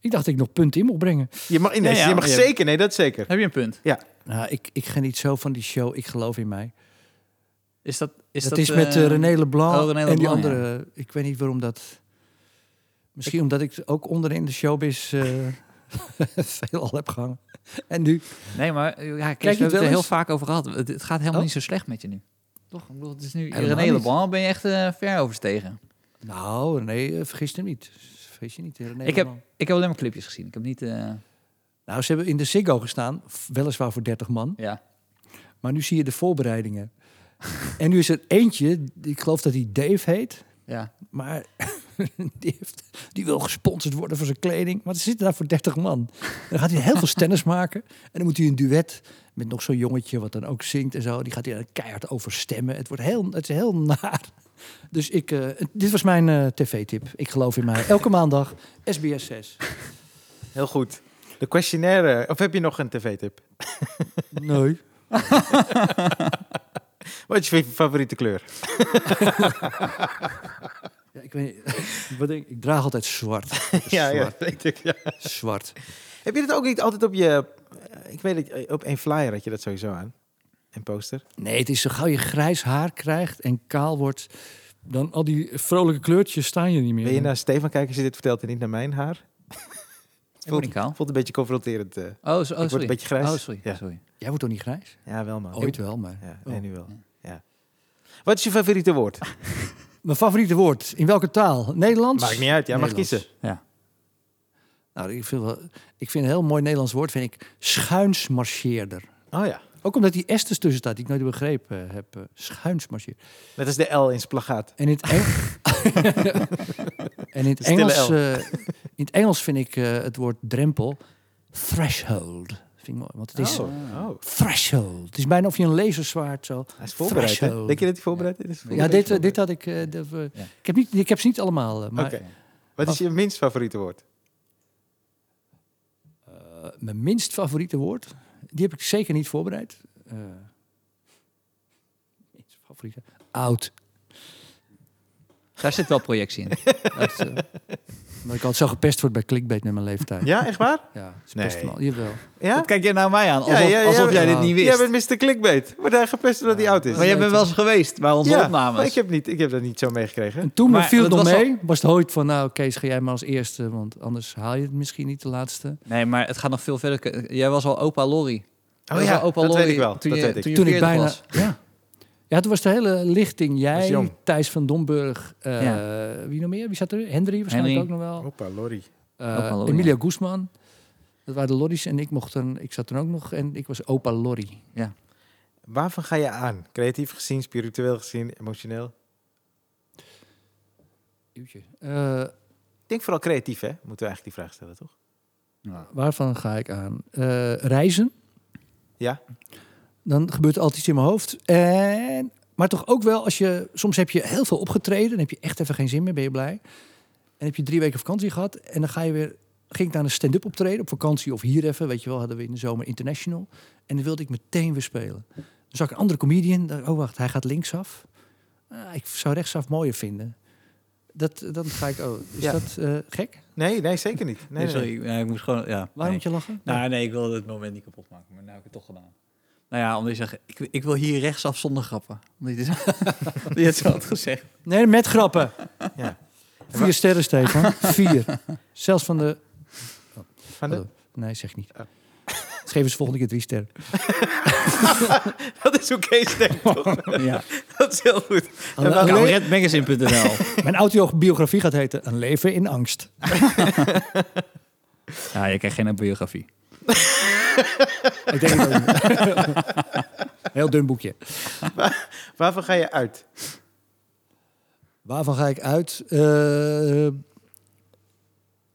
ik dacht dat ik nog punten in mocht brengen.
[LAUGHS] Je mag, nee,
Ja, ja,
je mag
maar je-
zeker, nee, dat zeker.
Heb je een punt?
Nou, ik, ik geniet zo van die show. Ik geloof in mij.
Is dat... Is
dat, is met eh,
eh,
René Leblanc
oh, René
en die
Leblanc, ja.
andere. eh, Ik weet niet waarom dat... Misschien omdat ik ook onderin de showbiz eh [LAUGHS] veel al heb gehangen. En nu...
Nee, maar eh, ja, Kees,
je het
we hebben het
wel
er heel
eens?
vaak over gehad. Het, het gaat helemaal
Oh.
niet zo slecht met je nu. Toch? Ik bedoel, het is nu...
Helemaal
René
niet.
Leblanc ben je echt eh, ver overstegen.
Nou, nee, eh, vergis hem niet. Vergis je niet. René
Ik heb-
Leblanc.
Ik heb alleen maar clipjes gezien. Ik heb niet... eh,
Nou, ze hebben in de Ziggo gestaan, f- weliswaar voor 30 man.
ja.
Maar nu zie je de voorbereidingen. [LAUGHS] en nu is er eentje, ik geloof dat hij Dave heet.
Ja.
Maar [LAUGHS] die, heeft, die wil gesponsord worden voor zijn kleding. Maar er zitten daar voor 30 man. En dan gaat hij
[LAUGHS]
heel veel tennis maken. En dan moet hij een duet met nog zo'n jongetje wat dan ook zingt en zo. Die gaat hij dan keihard overstemmen. Het, wordt heel, het is heel [LAUGHS] naar. Dus ik, eh, dit was mijn eh, tv-tip. Ik geloof in mij. Elke maandag, SBS 6.
Heel goed. De questionnaire. Of heb je nog een tv-tip?
Nee.
Wat is je favoriete
[LAUGHS]
kleur?
[LAUGHS] Ja, ik, weet, niet. [LAUGHS] wat denk, ik? ik draag altijd zwart.
[LAUGHS]
Zwart.
Ja, ja, weet ik, ja.
zwart.
Heb je dat ook niet altijd op je... eh, Ik weet dat je- op één flyer had je dat sowieso aan. Een poster.
Nee, het is zo gauw je grijs haar krijgt en kaal wordt... dan al die vrolijke kleurtjes staan je niet meer.
Wil je naar Stefan kijken als je dit vertelt en niet naar mijn haar?
[LAUGHS] Ik ben niet kaal.
Voelt een beetje confronterend. eh.
Oh, zo- oh,
word
sorry.
een beetje grijs.
Oh, sorry.
Ja.
sorry.
Jij wordt toch niet grijs?
Ja, wel man.
Ooit wel, maar...
Ja,
Oh.
nee, nu wel. Ja. Wat is je favoriete
[LAUGHS]
woord?
Mijn favoriete woord. In welke taal? Nederlands?
Maakt niet uit, jij mag
Nederlands.
kiezen.
Ja.
Nou, ik vind, wel, ik vind een heel mooi Nederlands woord, vind ik schuinsmarcheerder.
Oh ja,
Ook omdat die S's tussen staat, die ik nooit begrepen eh, heb. eh, schuinsmarcheerder.
net als de L in splagaat.
En in
[LAUGHS]
het, Eng... en in het
Stille
Engels,
L.
eh, in het Engels vind ik eh, het woord drempel threshold. Vind ik mooi, want het is
oh. oh.
threshold. Het is bijna of je een laserzwaard zo.
Hij is voorbereid, hè?
Threshold.
Denk je dat hij voorbereid is?
Ja,
Voorbereid?
dit, eh, dit had ik. eh, dat, eh,
Ja.
ik, heb niet, ik heb ze niet allemaal. eh, maar
Oké. Wat is je minst favoriete woord?
eh, mijn minst favoriete woord, die heb ik zeker niet voorbereid. Eh, minst favoriete. Oud.
Daar zit wel projectie in.
Dat, eh, omdat ik altijd zo gepest word bij clickbait met mijn leeftijd.
Ja, echt waar?
Ja, ze
Nee.
pesten me al. Jawel.
[LAUGHS] Ja?
Wat kijk jij nou mij aan?
Ja,
Alsof,
ja, ja,
alsof jij
ja.
dit niet wist.
Jij bent Mr. Clickbait. Wordt hij gepest omdat hij oud is?
maar jij bent wel eens geweest bij onze
ja, maar
opnames. Oh,
ik heb, niet, ik heb dat niet zo meegekregen.
En toen me
Maar
viel het
dat
nog
was al-
mee, was het ooit van, nou Kees, ga jij maar als eerste, want anders haal je het misschien niet de laatste.
Nee, maar het gaat nog veel verder. Jij was al opa Lorry.
Oh ja,
opa
dat
Lorry
weet ik wel.
Toen
Dat
je,
weet ik.
Toen je
Toen ik
40
bijna...
was.
Ja. ja, toen was de hele lichting.
was jong.
Jij, Thijs van Domburg, eh, wie nog meer? Wie zat er? Henry waarschijnlijk
Henry.
ook nog wel.
Opa, Lorry.
Eh,
Opa Lorry,
Emilia Guzman. Dat waren de lorries en ik, mocht dan, ik zat er ook nog en ik was opa lorry.
Waarvan ga je aan? Creatief gezien, spiritueel gezien, emotioneel?
Eh,
Ik denk vooral creatief, hè? Moeten we eigenlijk die vraag stellen, toch?
waarvan ga ik aan? Eh, reizen.
Ja.
Dan gebeurt er altijd iets in mijn hoofd. En, maar toch ook wel als je... Soms heb je heel veel opgetreden. Dan heb je echt even geen zin meer. Ben je blij. En heb je drie weken vakantie gehad. En dan ga je weer... Ging ik naar een stand-up optreden. Op vakantie of hier even. Weet je wel, hadden we in de zomer international. En dan wilde ik meteen weer spelen. Dan zag ik een andere comedian. Dacht, oh, wacht. Hij gaat linksaf. Ah, ik zou rechtsaf mooier vinden. Dat, dan ga ik... Oh, is
Ja.
dat eh, gek?
Nee, nee, zeker niet. Nee, nee, nee.
Nee, sorry. ik- nee, ik moest gewoon... Ja,
Waarom
nee.
moet je lachen?
Nou, nee, ik wilde het moment niet kapot maken, maar nou heb ik het toch gedaan. Nou ja, omdat je zegt, ik, ik wil hier rechtsaf zonder grappen. Omdat je, dit- [LAUGHS] je het zo had gezegd.
Nee, met grappen.
Ja.
Vier sterren, [LAUGHS] Stefan. Vier. Zelfs van de... Oh,
Van de- [LAUGHS] Oh.
Nee, zeg niet. [LAUGHS] Geef eens volgende keer drie sterren.
Dat is hoe Kees denkt,
[LAUGHS]
toch?
Ja.
Dat is heel goed.
Een-
Nou,
welke-
een le-
Redmagazine.nl.
Mijn autobiografie gaat heten Een leven in angst.
[LAUGHS] Ja, je krijgt geen biografie.
Ik denk het ook niet. [LAUGHS] Heel dun boekje.
Waarvan ga je uit?
Waarvan ga ik uit? Eh,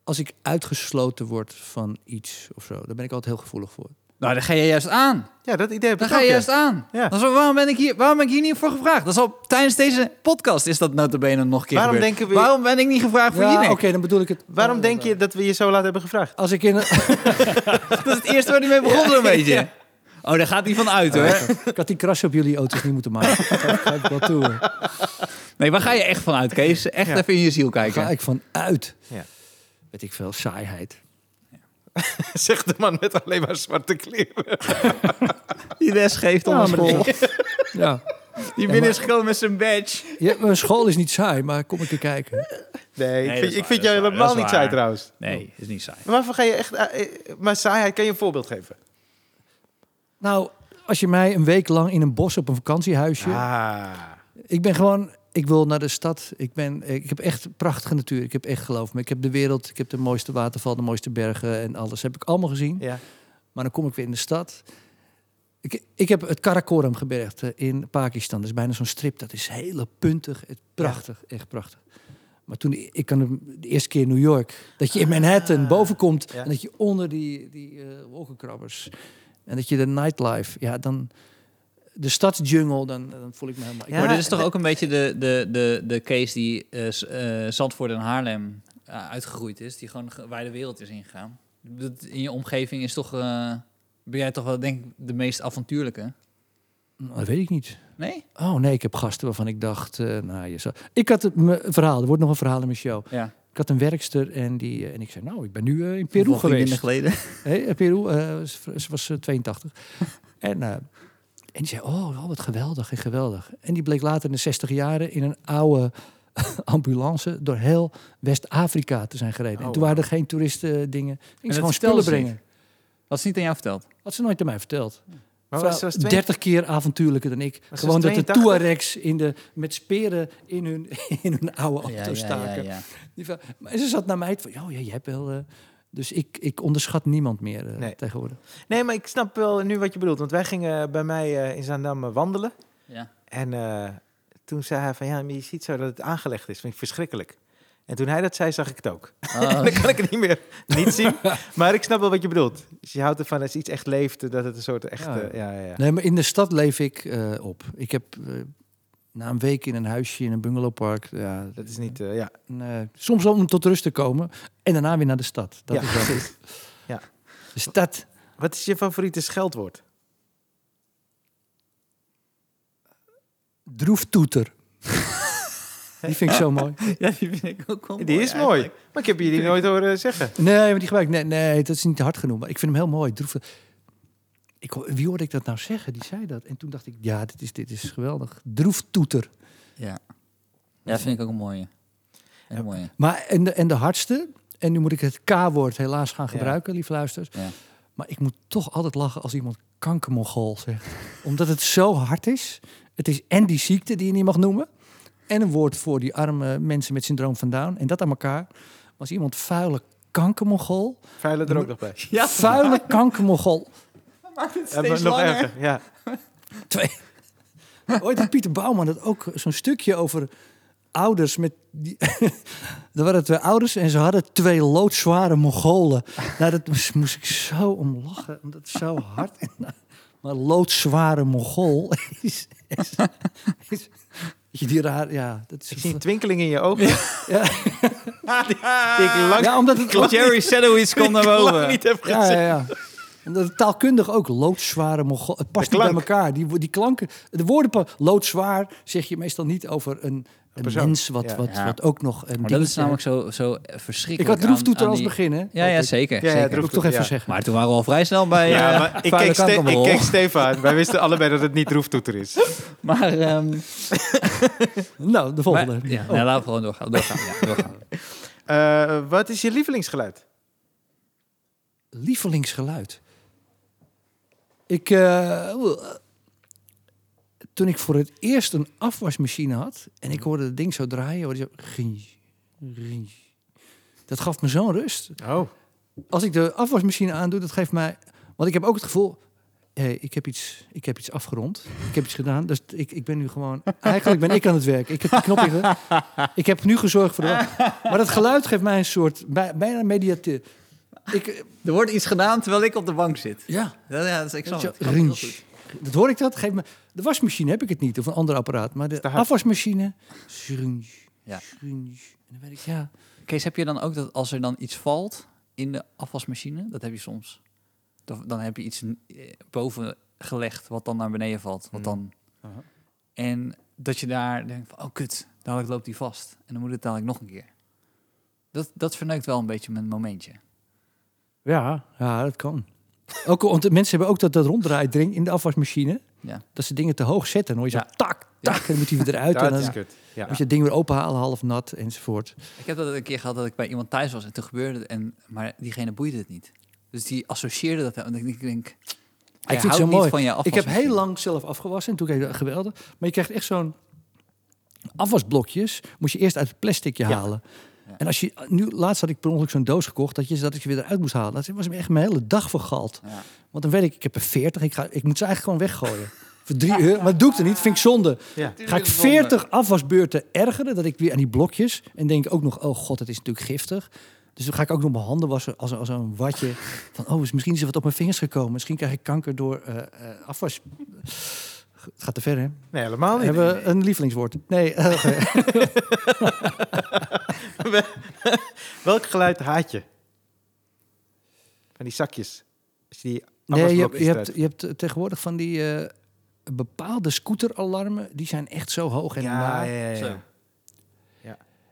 als ik uitgesloten word van iets of zo, daar ben ik altijd heel gevoelig voor.
Nou, daar ga je juist aan.
Ja, dat idee heb
Daar
ik
ga
ook,
je
ja.
juist aan.
Ja.
Dat is wel- waarom, ben ik hier, waarom ben ik hier niet voor gevraagd? Dat is al tijdens deze podcast is dat notabene nog een keer
Waarom
gebeurd.
denken we-
Waarom ben ik niet gevraagd voor
Ja,
Jinek?
oké, dan bedoel ik het. eh,
Waarom denk je dat we je zo laat hebben gevraagd? [LAUGHS]
Als ik in een-
Dat is het eerste waar hij mee begon zo'n beetje. Oh, daar gaat hij van uit hoor.
ik had die kras op jullie auto's niet moeten maken.
[LAUGHS]
Dat ga ik wel toe. hoor.
Nee, waar ga je echt van uit, Kees? Echt
Ja.
even in je ziel
Daar
kijken.
ga ik van uit.
Ja.
Weet ik veel, saaiheid.
Zegt de man met alleen maar zwarte kleren.
Die les geeft om
Ja,
een
maar dat
school.
is- Ja.
[LAUGHS] Die binnen is gekomen met zijn badge.
Ja, mijn school is niet saai, maar kom ik er kijken.
Nee, ik
dat is
vind, ik
waar,
vind
dat
jou
is waar,
helemaal
dat is
niet saai
waar.
trouwens.
Nee, is niet saai.
Maar Waarvan ga je echt... eh, eh, Maar saaiheid, kan je een voorbeeld geven?
Nou, als je mij een week lang in een bos op een vakantiehuisje.
Ah.
Ik ben gewoon, ik wil naar de stad. Ik, ben, ik heb echt prachtige natuur. Ik heb echt geloof me. Ik heb de wereld, ik heb de mooiste waterval, de mooiste bergen en alles. Heb ik allemaal gezien.
Ja.
Maar dan kom ik weer in de stad. Ik, ik heb het Karakoram-gebergte in Pakistan. Dat is bijna zo'n strip. Dat is hele puntig. Het- Prachtig, echt prachtig. Maar toen, ik kan hem- de eerste keer in New York, dat je
Ah.
in Manhattan boven komt
Ja.
en dat je onder die, die eh, wolkenkrabbers en dat je de nightlife, ja, dan de stadsjungle, dan, dan voel ik me helemaal. Eh, ik
Ja,
maar
word-
dit is toch ook een beetje de, de, de, de case die eh, s- eh, Zandvoort en Haarlem eh, uitgegroeid is. Die gewoon ge- waar de wereld is ingegaan. Dat in je omgeving is toch... eh, ben jij toch wel, denk ik, de meest avontuurlijke?
Nou, dat weet ik niet.
Nee?
Oh nee, ik heb gasten waarvan ik dacht, eh, nou je zou... Ik had het- mijn verhaal, er wordt nog een verhaal in mijn show.
Ja.
Ik had een werkster en die eh, en ik zei, nou ik ben nu eh, in Peru geweest.
[LAUGHS] geleden.
Hey, eh, Peru, eh, ze ze was eh,
[LAUGHS]
82. En, eh, en die zei, oh, oh, wat geweldig en geweldig. En die bleek later in de 60 jaren in een oude [LAUGHS] ambulance door heel West-Afrika te zijn gereden.
Oh,
en toen
wauw.
waren er geen toeristen eh, dingen. Ging ze
dat
gewoon
vertelde
spullen
ze
brengen.
Wat is niet aan jou verteld?
Had ze nooit aan mij verteld.
Maar
Vrouw,
was, was twee-
30 keer avontuurlijker dan ik.
was
Gewoon dat de
82?
Tuaregs in de, met speren in hun, [LAUGHS] in hun oude auto staken. Die vrouw- maar ze zat naar mij van, "Oh, ja, je hebt wel... eh," dus ik, ik onderschat niemand meer eh,
Nee.
tegenwoordig.
Nee, maar ik snap wel nu wat je bedoelt. Want wij gingen bij mij eh, in Zaandam eh, wandelen.
Ja.
En eh, toen zei hij van, ja, maar je ziet zo dat het aangelegd is. Vind ik verschrikkelijk. En toen hij dat zei, zag ik het ook.
Oh,
[LAUGHS] Dan kan ik het niet meer niet zien. Maar ik snap wel wat je bedoelt. Dus je houdt ervan als iets echt leeft, dat het een soort echt...
Ja.
eh, ja, ja, ja.
Nee, maar in de stad leef ik eh, op. Ik heb eh, na een week in een huisje in een bungalowpark... Ja,
Dat is niet... eh, ja.
nee, soms om tot rust te komen en daarna weer naar de stad. Dat
Ja,
is wel
precies. [LAUGHS] Ja.
De stad.
Wat is je favoriete scheldwoord? [LAUGHS]
Droeftoeter. die vind ik zo mooi.
[LAUGHS] ja, die vind ik ook wel
Die is mooi.
eigenlijk.
Maar ik heb je die nooit horen zeggen.
Nee, maar die gebruik ik. Nee, nee, dat is niet te hard genoemd. Maar ik vind hem heel mooi. Droef. Ik, ho- wie hoorde ik dat nou zeggen? Die zei dat. En toen dacht ik, ja, dit is, dit is geweldig. Droeftoeter.
Ja. ja, dat vind ik ook een mooie. Een mooie.
Maar en de, en de hardste. En nu moet ik het K-woord helaas gaan gebruiken, lief luisters.
Ja.
Maar ik moet toch altijd lachen als iemand kankermongool zegt. [LAUGHS] Omdat het zo hard is. Het is en die ziekte die je niet mag noemen. En een woord voor die arme mensen met syndroom van Down. En dat aan elkaar. Maar Als iemand vuile kankermongool.
Vuilen er ook nog bij.
Ja,
Vuile kankermongool.
maakt het
Eh, maar nog erger. Ja.
Twee. Ooit had Pieter Bouwman dat ook zo'n stukje over ouders met die. er waren twee ouders en ze hadden twee loodzware Mongolen. Nou, dat moest, moest ik zo om lachen, omdat het zo hard. maar loodzware Mongool is. is, is weet je, die raar, ja, dat is.
Ik zie een twinkeling in je ogen.
Ja.
[LAUGHS] Die, die ik lang,
Ja, omdat het.
Jerry Sedowitz [LAUGHS] komt naar
die [LAUGHS] ik lang
boven.
niet heb
Ja,
gezien.
ja, ja. Omdat het taalkundig ook loodzware Mongool. Het past
De
niet bij
klank.
elkaar. Die, wo- die klanken. De woorden pa- loodzwaar zeg je meestal niet over een, een
persoon.
mens wat,
Ja.
wat,
Ja.
wat ook nog een
Maar dat
dingetje-
is namelijk zo, zo eh,
Ik
verschrikkelijk.
had droeftoeter
aan- aan
als
die-
begin, hè?
Ja, ja, zeker.
Ja, ja,
zeker.
Dat moet ik toch
Ja.
even zeggen.
Maar toen waren we al vrij snel bij.
Ja,
eh,
maar ik
vuile
keek, Ste- ik
kankermol.
keek Stefan. Wij wisten allebei dat het niet roeftoeter is.
Maar, ehm, [LAUGHS]
Nou, de volgende.
maar- ja, nou, laten we gewoon doorgaan. doorgaan, ja, doorgaan.
Eh, wat is je lievelingsgeluid?
Lievelingsgeluid. Ik, eh, oeh, eh, toen ik voor het eerst een afwasmachine had en ik hoorde het ding zo draaien, hoorde je zo... ging, ging. Dat gaf me zo'n rust.
Oh.
als ik de afwasmachine aandoe, dat geeft mij. Want ik heb ook het gevoel. Hey, ik, heb iets, ik heb iets afgerond. Ik heb iets gedaan. Dus ik, ik ben nu gewoon. Eigenlijk ben ik aan het werk. Ik heb de knop in. de- Ik heb nu gezorgd voor de. Maar dat geluid geeft mij een soort. bij- Bijna mediatief. Ik, eh,
Er wordt iets gedaan terwijl ik op de bank zit.
ja,
Ja, ja, dat is, ik snap
weet je,
het. Ik snap het heel
rinch.
goed.
Dat hoor ik dat. Geeft me, de wasmachine heb ik het niet. Of een ander apparaat. Maar de
te hard.
afwasmachine. Shrunch,
Ja.
shrunch. En dan ben ik, ja.
Kees, heb je dan ook dat als er dan iets valt in de afwasmachine, dat heb je soms. Dan, dan heb je iets eh, boven gelegd wat dan naar beneden valt.
Mm.
Wat dan...
Aha.
En dat je daar denkt van, oh kut, dadelijk loopt die vast. En dan moet het dadelijk nog een keer. Dat, dat verneukt wel een beetje mijn momentje.
Ja, ja dat kan. Ook, want de mensen hebben ook dat, dat ronddraaidring in de afwasmachine.
Ja.
Dat ze dingen te hoog zetten. Dan hoor je
Ja.
zo tak, tak. En dan moet hij weer eruit. en
Dat
dan
is kut. Ja.
moet je het ding weer openhalen, half nat enzovoort.
Ik heb dat een keer gehad dat ik bij iemand thuis was en toen gebeurde het. En, maar diegene boeide het niet. Dus die associeerde dat. En ik denk, hij
ik vind het
houdt
zo
niet
mooi.
van je
Ik heb
afwasmachine.
heel lang zelf afgewassen. En toen kreeg ik dat geweldig. Maar je krijgt echt zo'n afwasblokjes. Moest je eerst uit het plasticje halen.
Ja.
En als je, nu, laatst had ik per ongeluk zo'n doos gekocht. Dat, je, dat ik ze weer eruit moest halen. Dat was me echt mijn hele dag vergald.
Ja.
Want dan weet ik, ik heb er 40. Ik, ga, ik moet ze eigenlijk gewoon weggooien. [LAUGHS] Voor drie euro. Maar dat doe ik er niet. Vind ik zonde.
Ja.
Ga ik 40 afwasbeurten ergeren dat ik weer aan die blokjes en denk ook nog, oh god, het is natuurlijk giftig. Dus dan ga ik ook nog mijn handen wassen als, als een watje. Van, oh, is- misschien is er wat op mijn vingers gekomen. Misschien krijg ik kanker door eh, eh, afwas. Het gaat te ver, hè?
Oh, Nee, helemaal niet.
Hebben we een lievelingswoord?
[LAUGHS]
Nee. eh, oké.
Welk geluid haat je? Van die zakjes. Als je die
nee je, hebt-
afwasblokjes
je, hebt,
eruit-
je hebt tegenwoordig van die eh, bepaalde scooteralarmen. Die zijn echt zo hoog en
Ja,
naar.
ja, ja. ja.
Zo.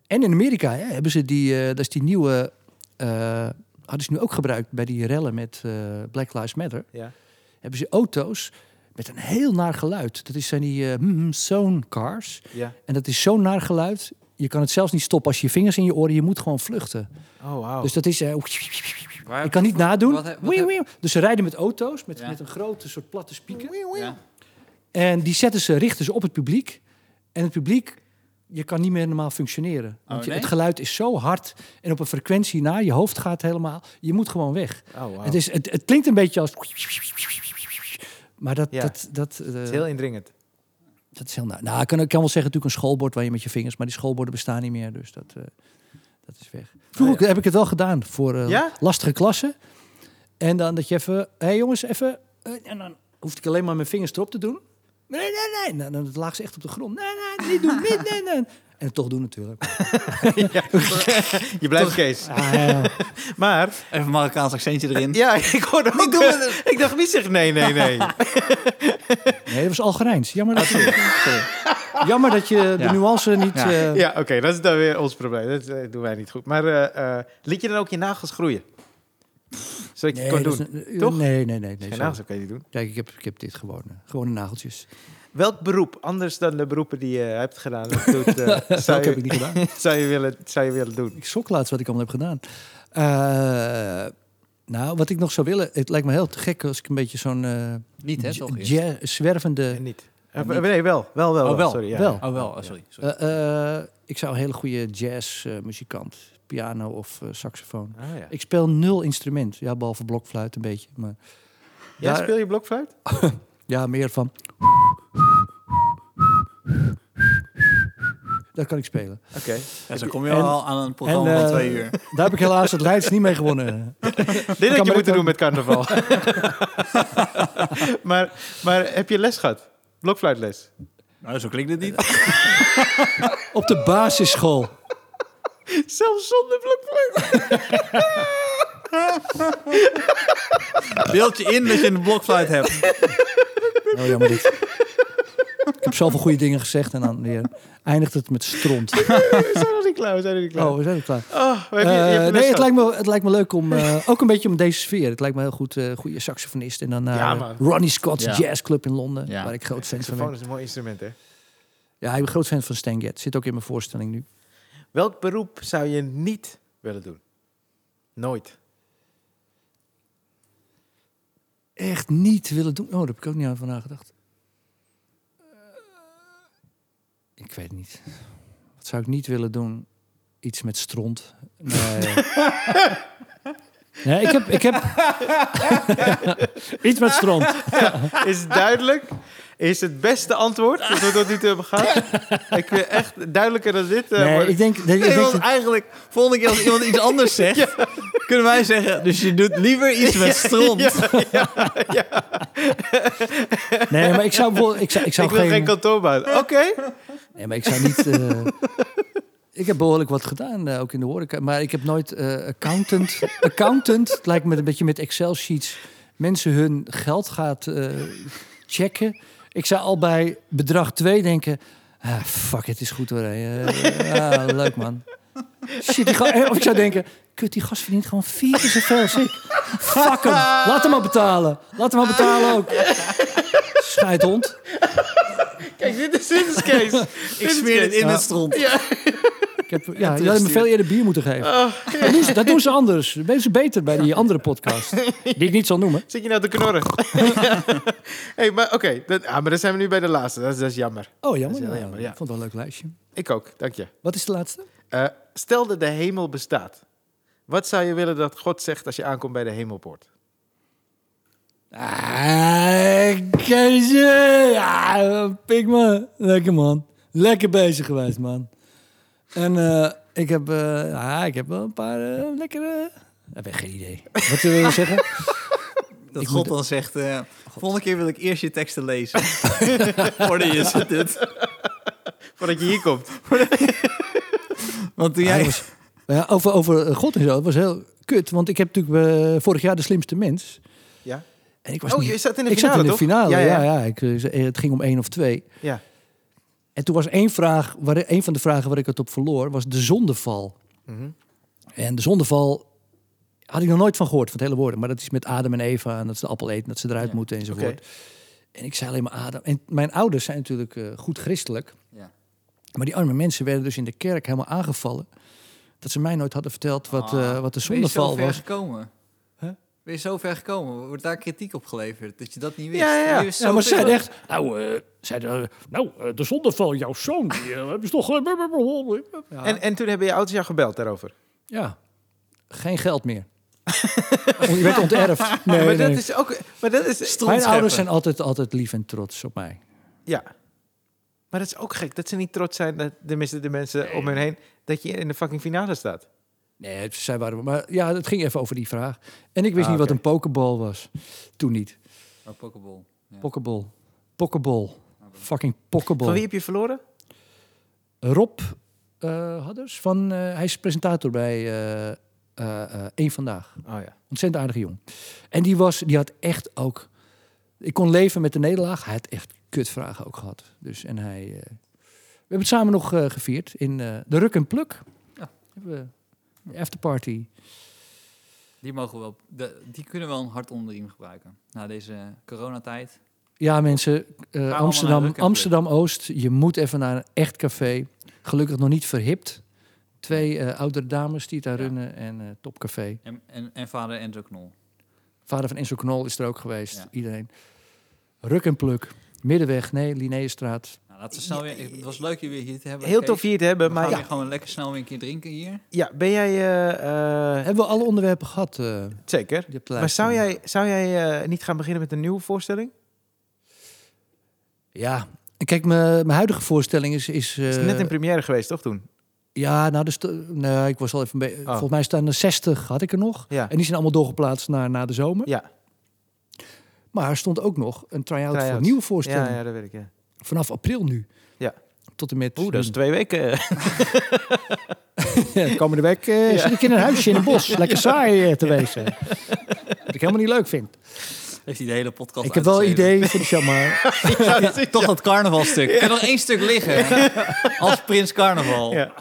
En in Amerika hè, hebben ze die, eh, dat is die nieuwe... eh, hadden ze nu ook gebruikt bij die rellen met eh, Black Lives Matter.
Ja.
hebben ze auto's met een heel naar geluid. Dat is, zijn die eh, mm, mm, zone cars.
Ja.
En dat is zo'n naar geluid. Je kan het zelfs niet stoppen als je je vingers in je oren. Je moet gewoon vluchten.
Oh, wauw.
Dus dat is... eh,
Waar-
Ik kan niet nadoen.
Wat he- wat
Wieuw,
heb-
wieuw. Dus ze rijden met auto's, met,
Ja.
met een grote soort platte speaker.
Ja.
En die zetten ze, richten ze op het publiek. En het publiek, je kan niet meer normaal functioneren. Want je-
Oh, nee?
het geluid is zo hard en op een frequentie na, je hoofd gaat helemaal. Je moet gewoon weg.
Oh, wauw.
Het, is, het, het klinkt een beetje als... Maar dat,
Ja.
dat, dat, eh,
Het is heel indringend.
dat is heel... na- Nou, ik kan, ik kan wel zeggen natuurlijk een schoolbord waar je met je vingers... Maar die schoolborden bestaan niet meer, dus dat, eh, dat is weg. Nou Vroeger heb ik het wel gedaan voor eh,
Ja?
lastige klassen. En dan dat je even... Hé hey jongens, even... eh, en dan hoefde ik alleen maar mijn vingers erop te doen. Nee, nee, nee. Nou, dan lag ze echt op de grond. Nee, nee, niet doen. Niet, nee, nee. En het toch doen natuurlijk.
Je blijft Kees.
Ah, ja.
Maar,
Even een Marokkaans accentje erin.
ja, [LAUGHS] ik hoorde ook...
Niet doen we
ik dacht, wie zegt nee, nee, nee?
[LAUGHS] Nee, dat was Algerijns. Jammer dat, jammer dat je de
Ja.
nuance niet...
Ja.
eh,
ja, oké, dat is dan weer ons probleem. Dat eh, doen wij niet goed. Maar eh, eh, liet je dan ook je nagels groeien? Zodat je het
nee,
kon
dat is
doen?
een-
toch?
Nee, nee, nee. nee
Geen
sorry.
nagels, dat kan je niet doen.
Kijk, ik heb, ik heb dit gewoon. eh, Gewone [LAUGHS] nageltjes.
Welk beroep, anders dan de beroepen die je hebt gedaan, dat doet,
[LAUGHS]
eh,
Dat
zou,
heb ik
je,
niet gedaan.
[LAUGHS] zou, je willen, zou je willen doen?
Ik schrok laatst wat ik allemaal heb gedaan. Eh, nou, wat ik nog zou willen... Het lijkt me heel te gek als ik een beetje zo'n eh,
Niet, hè?
j-
Toch? eerst.
jazz- zwervende...
En niet. Eh, nee, wel. Wel, wel.
Oh, wel,
Sorry, ja.
wel.
Oh, wel. Oh, sorry. sorry.
Eh, eh, ik zou een hele goede jazzmuzikant, piano of eh, saxofoon.
Ah, ja.
Ik speel nul instrument. Ja, behalve blokfluit een beetje. Maar
Jij
daar-
speel je
[LAUGHS]
blokfluit?
ja, meer van... Dat kan ik spelen.
Oké.
Ja, zo kom je
en-
al aan een programma
en,
van
eh,
twee uur.
Daar heb ik helaas het Leids niet mee gewonnen.
Dit
maar
had je
dit
moeten
ook-
doen met carnaval. [LAUGHS] maar, maar heb je les gehad?
[LAUGHS]
Blokfluitles?
Nou, zo klinkt het [LAUGHS] niet.
Op de basisschool.
Zelfs zonder blokfluit?
Beeld je in dat je een blokfluit hebt.
Oh, jammer dit. Ik heb zoveel goede dingen gezegd en dan weer eindigt het met stront.
We [LAUGHS] zijn nog niet klaar, we zijn nog niet klaar.
Oh,
Oh,
we zijn er klaar.
maar heb je, je hebt
Eh,
les
nee, het
gehad?
lijkt, me, het lijkt me leuk om... eh, ook een beetje om deze sfeer. Het lijkt me heel goed, eh goede saxofonist. En dan naar
Ja,
eh,
man.
Ronnie Scott's
Ja.
Jazz Club in Londen.
Ja.
Waar ik groot fan van
Saxofoon
ben.
is een mooi instrument, hè?
Ja, ik ben groot fan van Stan Getz. Zit ook in mijn voorstelling nu.
Welk beroep zou je niet willen doen? [LAUGHS] Nooit.
Echt niet willen doen. Oh, daar heb ik ook niet aan van nagedacht. Eh, ik weet het niet. Wat zou ik niet willen doen? Iets met stront. [LAUGHS] Nee. nee, ik heb... Ik heb... Iets met stront.
Is het duidelijk? Is het beste antwoord dat we tot nu toe hebben gehad? [LAUGHS] Ik wil echt duidelijker dan dit. eh,
[LAUGHS] Nee,
worden.
ik denk... ik
Nee,
denk
want
dat-
eigenlijk, volgende keer als [LAUGHS] iemand iets anders zegt, kunnen wij zeggen, dus je doet liever iets met stront. [LAUGHS]
nee, maar ik zou bijvoorbeeld... Ik zou, ik zou
Ik wil geen kantoorbaan. Oké.
Nee, maar ik zou niet. eh, ik heb behoorlijk wat gedaan, eh, ook in de horeca. Maar ik heb nooit eh, accountant. Accountant het lijkt me een beetje met Excel sheets. Mensen hun geld gaat eh, checken. Ik zou al bij bedrag 2 denken. Ah, fuck, het is goed hoor. hé. Eh, ah, leuk man. Shit, die ga- eh, of ik zou denken, kut, die gast verdient gewoon vier keer zoveel als ik. Fuck hem, laat hem maar betalen. Laat hem maar betalen ook. Scheidhond.
[LAUGHS] Kijk, dit is, dit is [LAUGHS] Kees.
Ik smeer het in het stront.
[LAUGHS] Ik heb, ja, je had me veel eerder bier moeten geven.
Oh.
Dat, doen ze, dat doen ze anders. Dat doen ze beter bij die andere [LAUGHS] podcast. Die ik niet zal noemen.
Zit je nou te [LAUGHS] knorren? hey, maar oké. dat- ah, maar dan zijn we nu bij de laatste. Dat is, dat is jammer.
Oh,
Dat is
jammer.
heel
Ja,
jammer, ja.
Ik vond het wel een leuk lijstje.
Ik ook, dank je.
Wat is de laatste?
Eh, stel dat de hemel bestaat. Wat zou je willen dat God zegt als je aankomt bij de hemelpoort?
Ah, Keesje. Ja, pik me. Lekker, man. Lekker bezig geweest, man. En eh, ik, heb, eh, ah, ik heb wel een paar eh, lekkere... Ik heb geen idee. Wat wil je zeggen?
Dat
Ik
God
moet-
dan zegt, eh, volgende keer wil ik eerst je teksten lezen. Voordat je ze doet.
Voordat je hier komt.
Want toen
Ja,
jij...
dat was- ja, over, over eh, God en zo, dat was heel kut. Want ik heb natuurlijk eh, vorig jaar de slimste mens.
Ja.
En ik was
oh,
niet-
je zat in de
ik
finale,
zat in de
toch?
finale,
Ja,
ja.
ja.
ja, Ik, eh, het ging om één of twee.
Ja.
En toen was één vraag, waar, één van de vragen waar ik het op verloor, was de zondeval.
Mhm.
En de zondeval had ik nog nooit van gehoord, van het hele woorden. Maar dat is met Adam en Eva en dat ze de appel eten, dat ze eruit
Ja,
moeten enzovoort.
oké.
En ik zei alleen maar Adam. En mijn ouders zijn natuurlijk eh, goed christelijk.
Ja.
Maar die arme mensen werden dus in de kerk helemaal aangevallen. Dat ze mij nooit hadden verteld wat,
Ah,
eh, wat de
Ben je zo
zondeval
ver
was.
gekomen? Ben je zo ver gekomen? Wordt daar kritiek op geleverd? Dat je dat niet wist?
Ja, ja, ja.
Je wist
Ja, maar ze
zoveel.
zei echt,
Nou, eh, zeiden, eh, nou eh, de zonde van jouw zoon, die eh, hebben ze toch... eh,
Ja.
En, en toen hebben je ouders jou gebeld daarover.
ja, geen geld
[LAUGHS]
meer. Je werd onterfd.
maar
Nee, nee.
dat is ook... Maar dat is...
Mijn ouders
scheppen.
zijn altijd, altijd lief en trots op mij.
Ja. Maar dat is ook gek. Dat ze niet trots zijn, dat, tenminste de mensen om hen heen, dat je in de fucking finale staat.
Nee, het- zij waren... Maar ja, het ging even over die vraag. En ik wist
Ah,
niet wat
oké.
een pokeball was. Toen niet.
Oh, Pokeball. Ja.
Pokeball. Pokeball. Fucking pokeball.
Van wie heb je verloren?
Rob eh Hadders. Van, eh, hij is presentator bij eh eh eh, Eén Vandaag.
Oh ja.
Ontzettend aardige jong. En die, was, die had echt ook... Ik kon leven met de nederlaag. Hij had echt kutvragen ook gehad. Dus, en hij... eh, we hebben het samen nog eh, gevierd in eh, de Ruk en Pluk.
Ja.
Hebben we de afterparty.
Die mogen wel, de- die kunnen wel een hart onder de riem gebruiken. Na deze coronatijd.
Ja, mensen, eh,
allemaal naar
Amsterdam,
Ruk en
Amsterdam Oost. Je moet even naar een echt café. Gelukkig nog niet verhipt. Twee eh, oudere dames die het daar
Ja.
runnen en eh, topcafé.
En, en, en vader Enzo Knol.
Vader van Enzo Knol is er ook geweest.
Ja.
Iedereen. Ruk en pluk. Middenweg, nee, Linnéestraat.
Nou, laten we snel weer, het was leuk je weer hier te hebben.
Heel
Kees.
tof hier te hebben,
We gaan
maar
weer
ja.
gewoon lekker snel weer een keer drinken hier.
ja, ben jij... eh, eh,
Hebben we alle onderwerpen gehad? eh,
zeker.
die op de
Maar
lijst
zou
stonden?
jij, zou jij eh, niet gaan beginnen met een nieuwe voorstelling?
Ja. Kijk, mijn mijn huidige voorstelling is... is,
Het is
eh,
net in première geweest, toch toen?
Ja, nou, dus, nee, ik was al even... een beetje- Volgens mij staan er 60, had ik er nog.
Ja.
En die zijn allemaal doorgeplaatst naar, naar de zomer.
Ja.
Maar er stond ook nog een try-out voor
Try-out.
een nieuwe voorstelling.
Ja, ja, dat weet ik, ja.
Vanaf april nu.
Ja.
Tot en met... dus
Oeh, dat is twee weken.
Ja, [LAUGHS] komende week eh, zit ik in een huisje in een [LAUGHS] bos. Lekker saai eh, te wezen. Wat ik helemaal niet leuk vind.
Heeft hij de hele podcast
ik heb wel
uitgeschreven.
idee voor de jammer.
Toch dat carnavalstuk. Er kan nog één stuk liggen. Als Prins Carnaval.
Ja.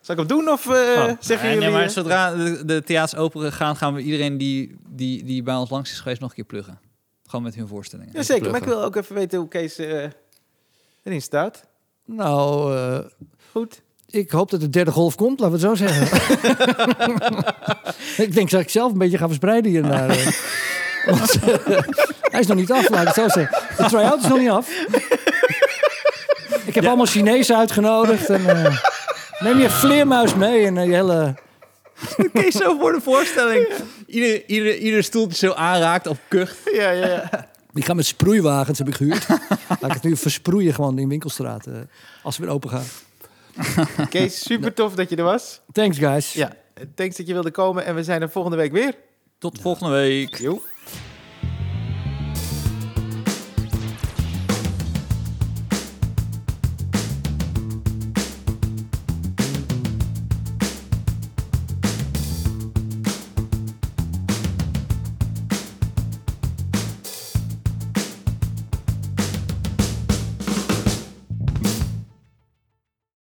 Zal ik hem doen of eh
Oh.
zeggen
nee,
jullie...
maar
eh,
zodra de, de theaters open gaan, gaan we iedereen die, die, die bij ons langs is geweest nog een keer pluggen. Gewoon met hun voorstellingen.
[LAUGHS] Ja, zeker. Maar ik wil ook even weten hoe Kees eh, erin staat.
[LAUGHS] Nou, eh,
Goed.
ik hoop dat de derde golf komt, laten we het zo [LAUGHS] zeggen. ik denk dat ik zelf een beetje ga verspreiden hiernaar. eh. Want, eh, hij is nog niet af, laat ik het zo zeggen. De try-out is nog niet af. Ik heb allemaal Chinezen uitgenodigd. En, eh, neem je vleermuis mee en eh, je hele...
Kees zo voor de voorstelling. Ieder, ieder, ieder stoeltje zo aanraakt op kucht.
[LAUGHS] Ja, ja, ja.
Die gaan met sproeiwagens, heb ik gehuurd. Laat ik het nu versproeien gewoon in winkelstraat. eh, als we weer open gaan.
Kees, super tof dat je er was.
Thanks, guys.
Ja, thanks dat je wilde komen en we zijn er volgende week weer.
Tot volgende week.
Joe.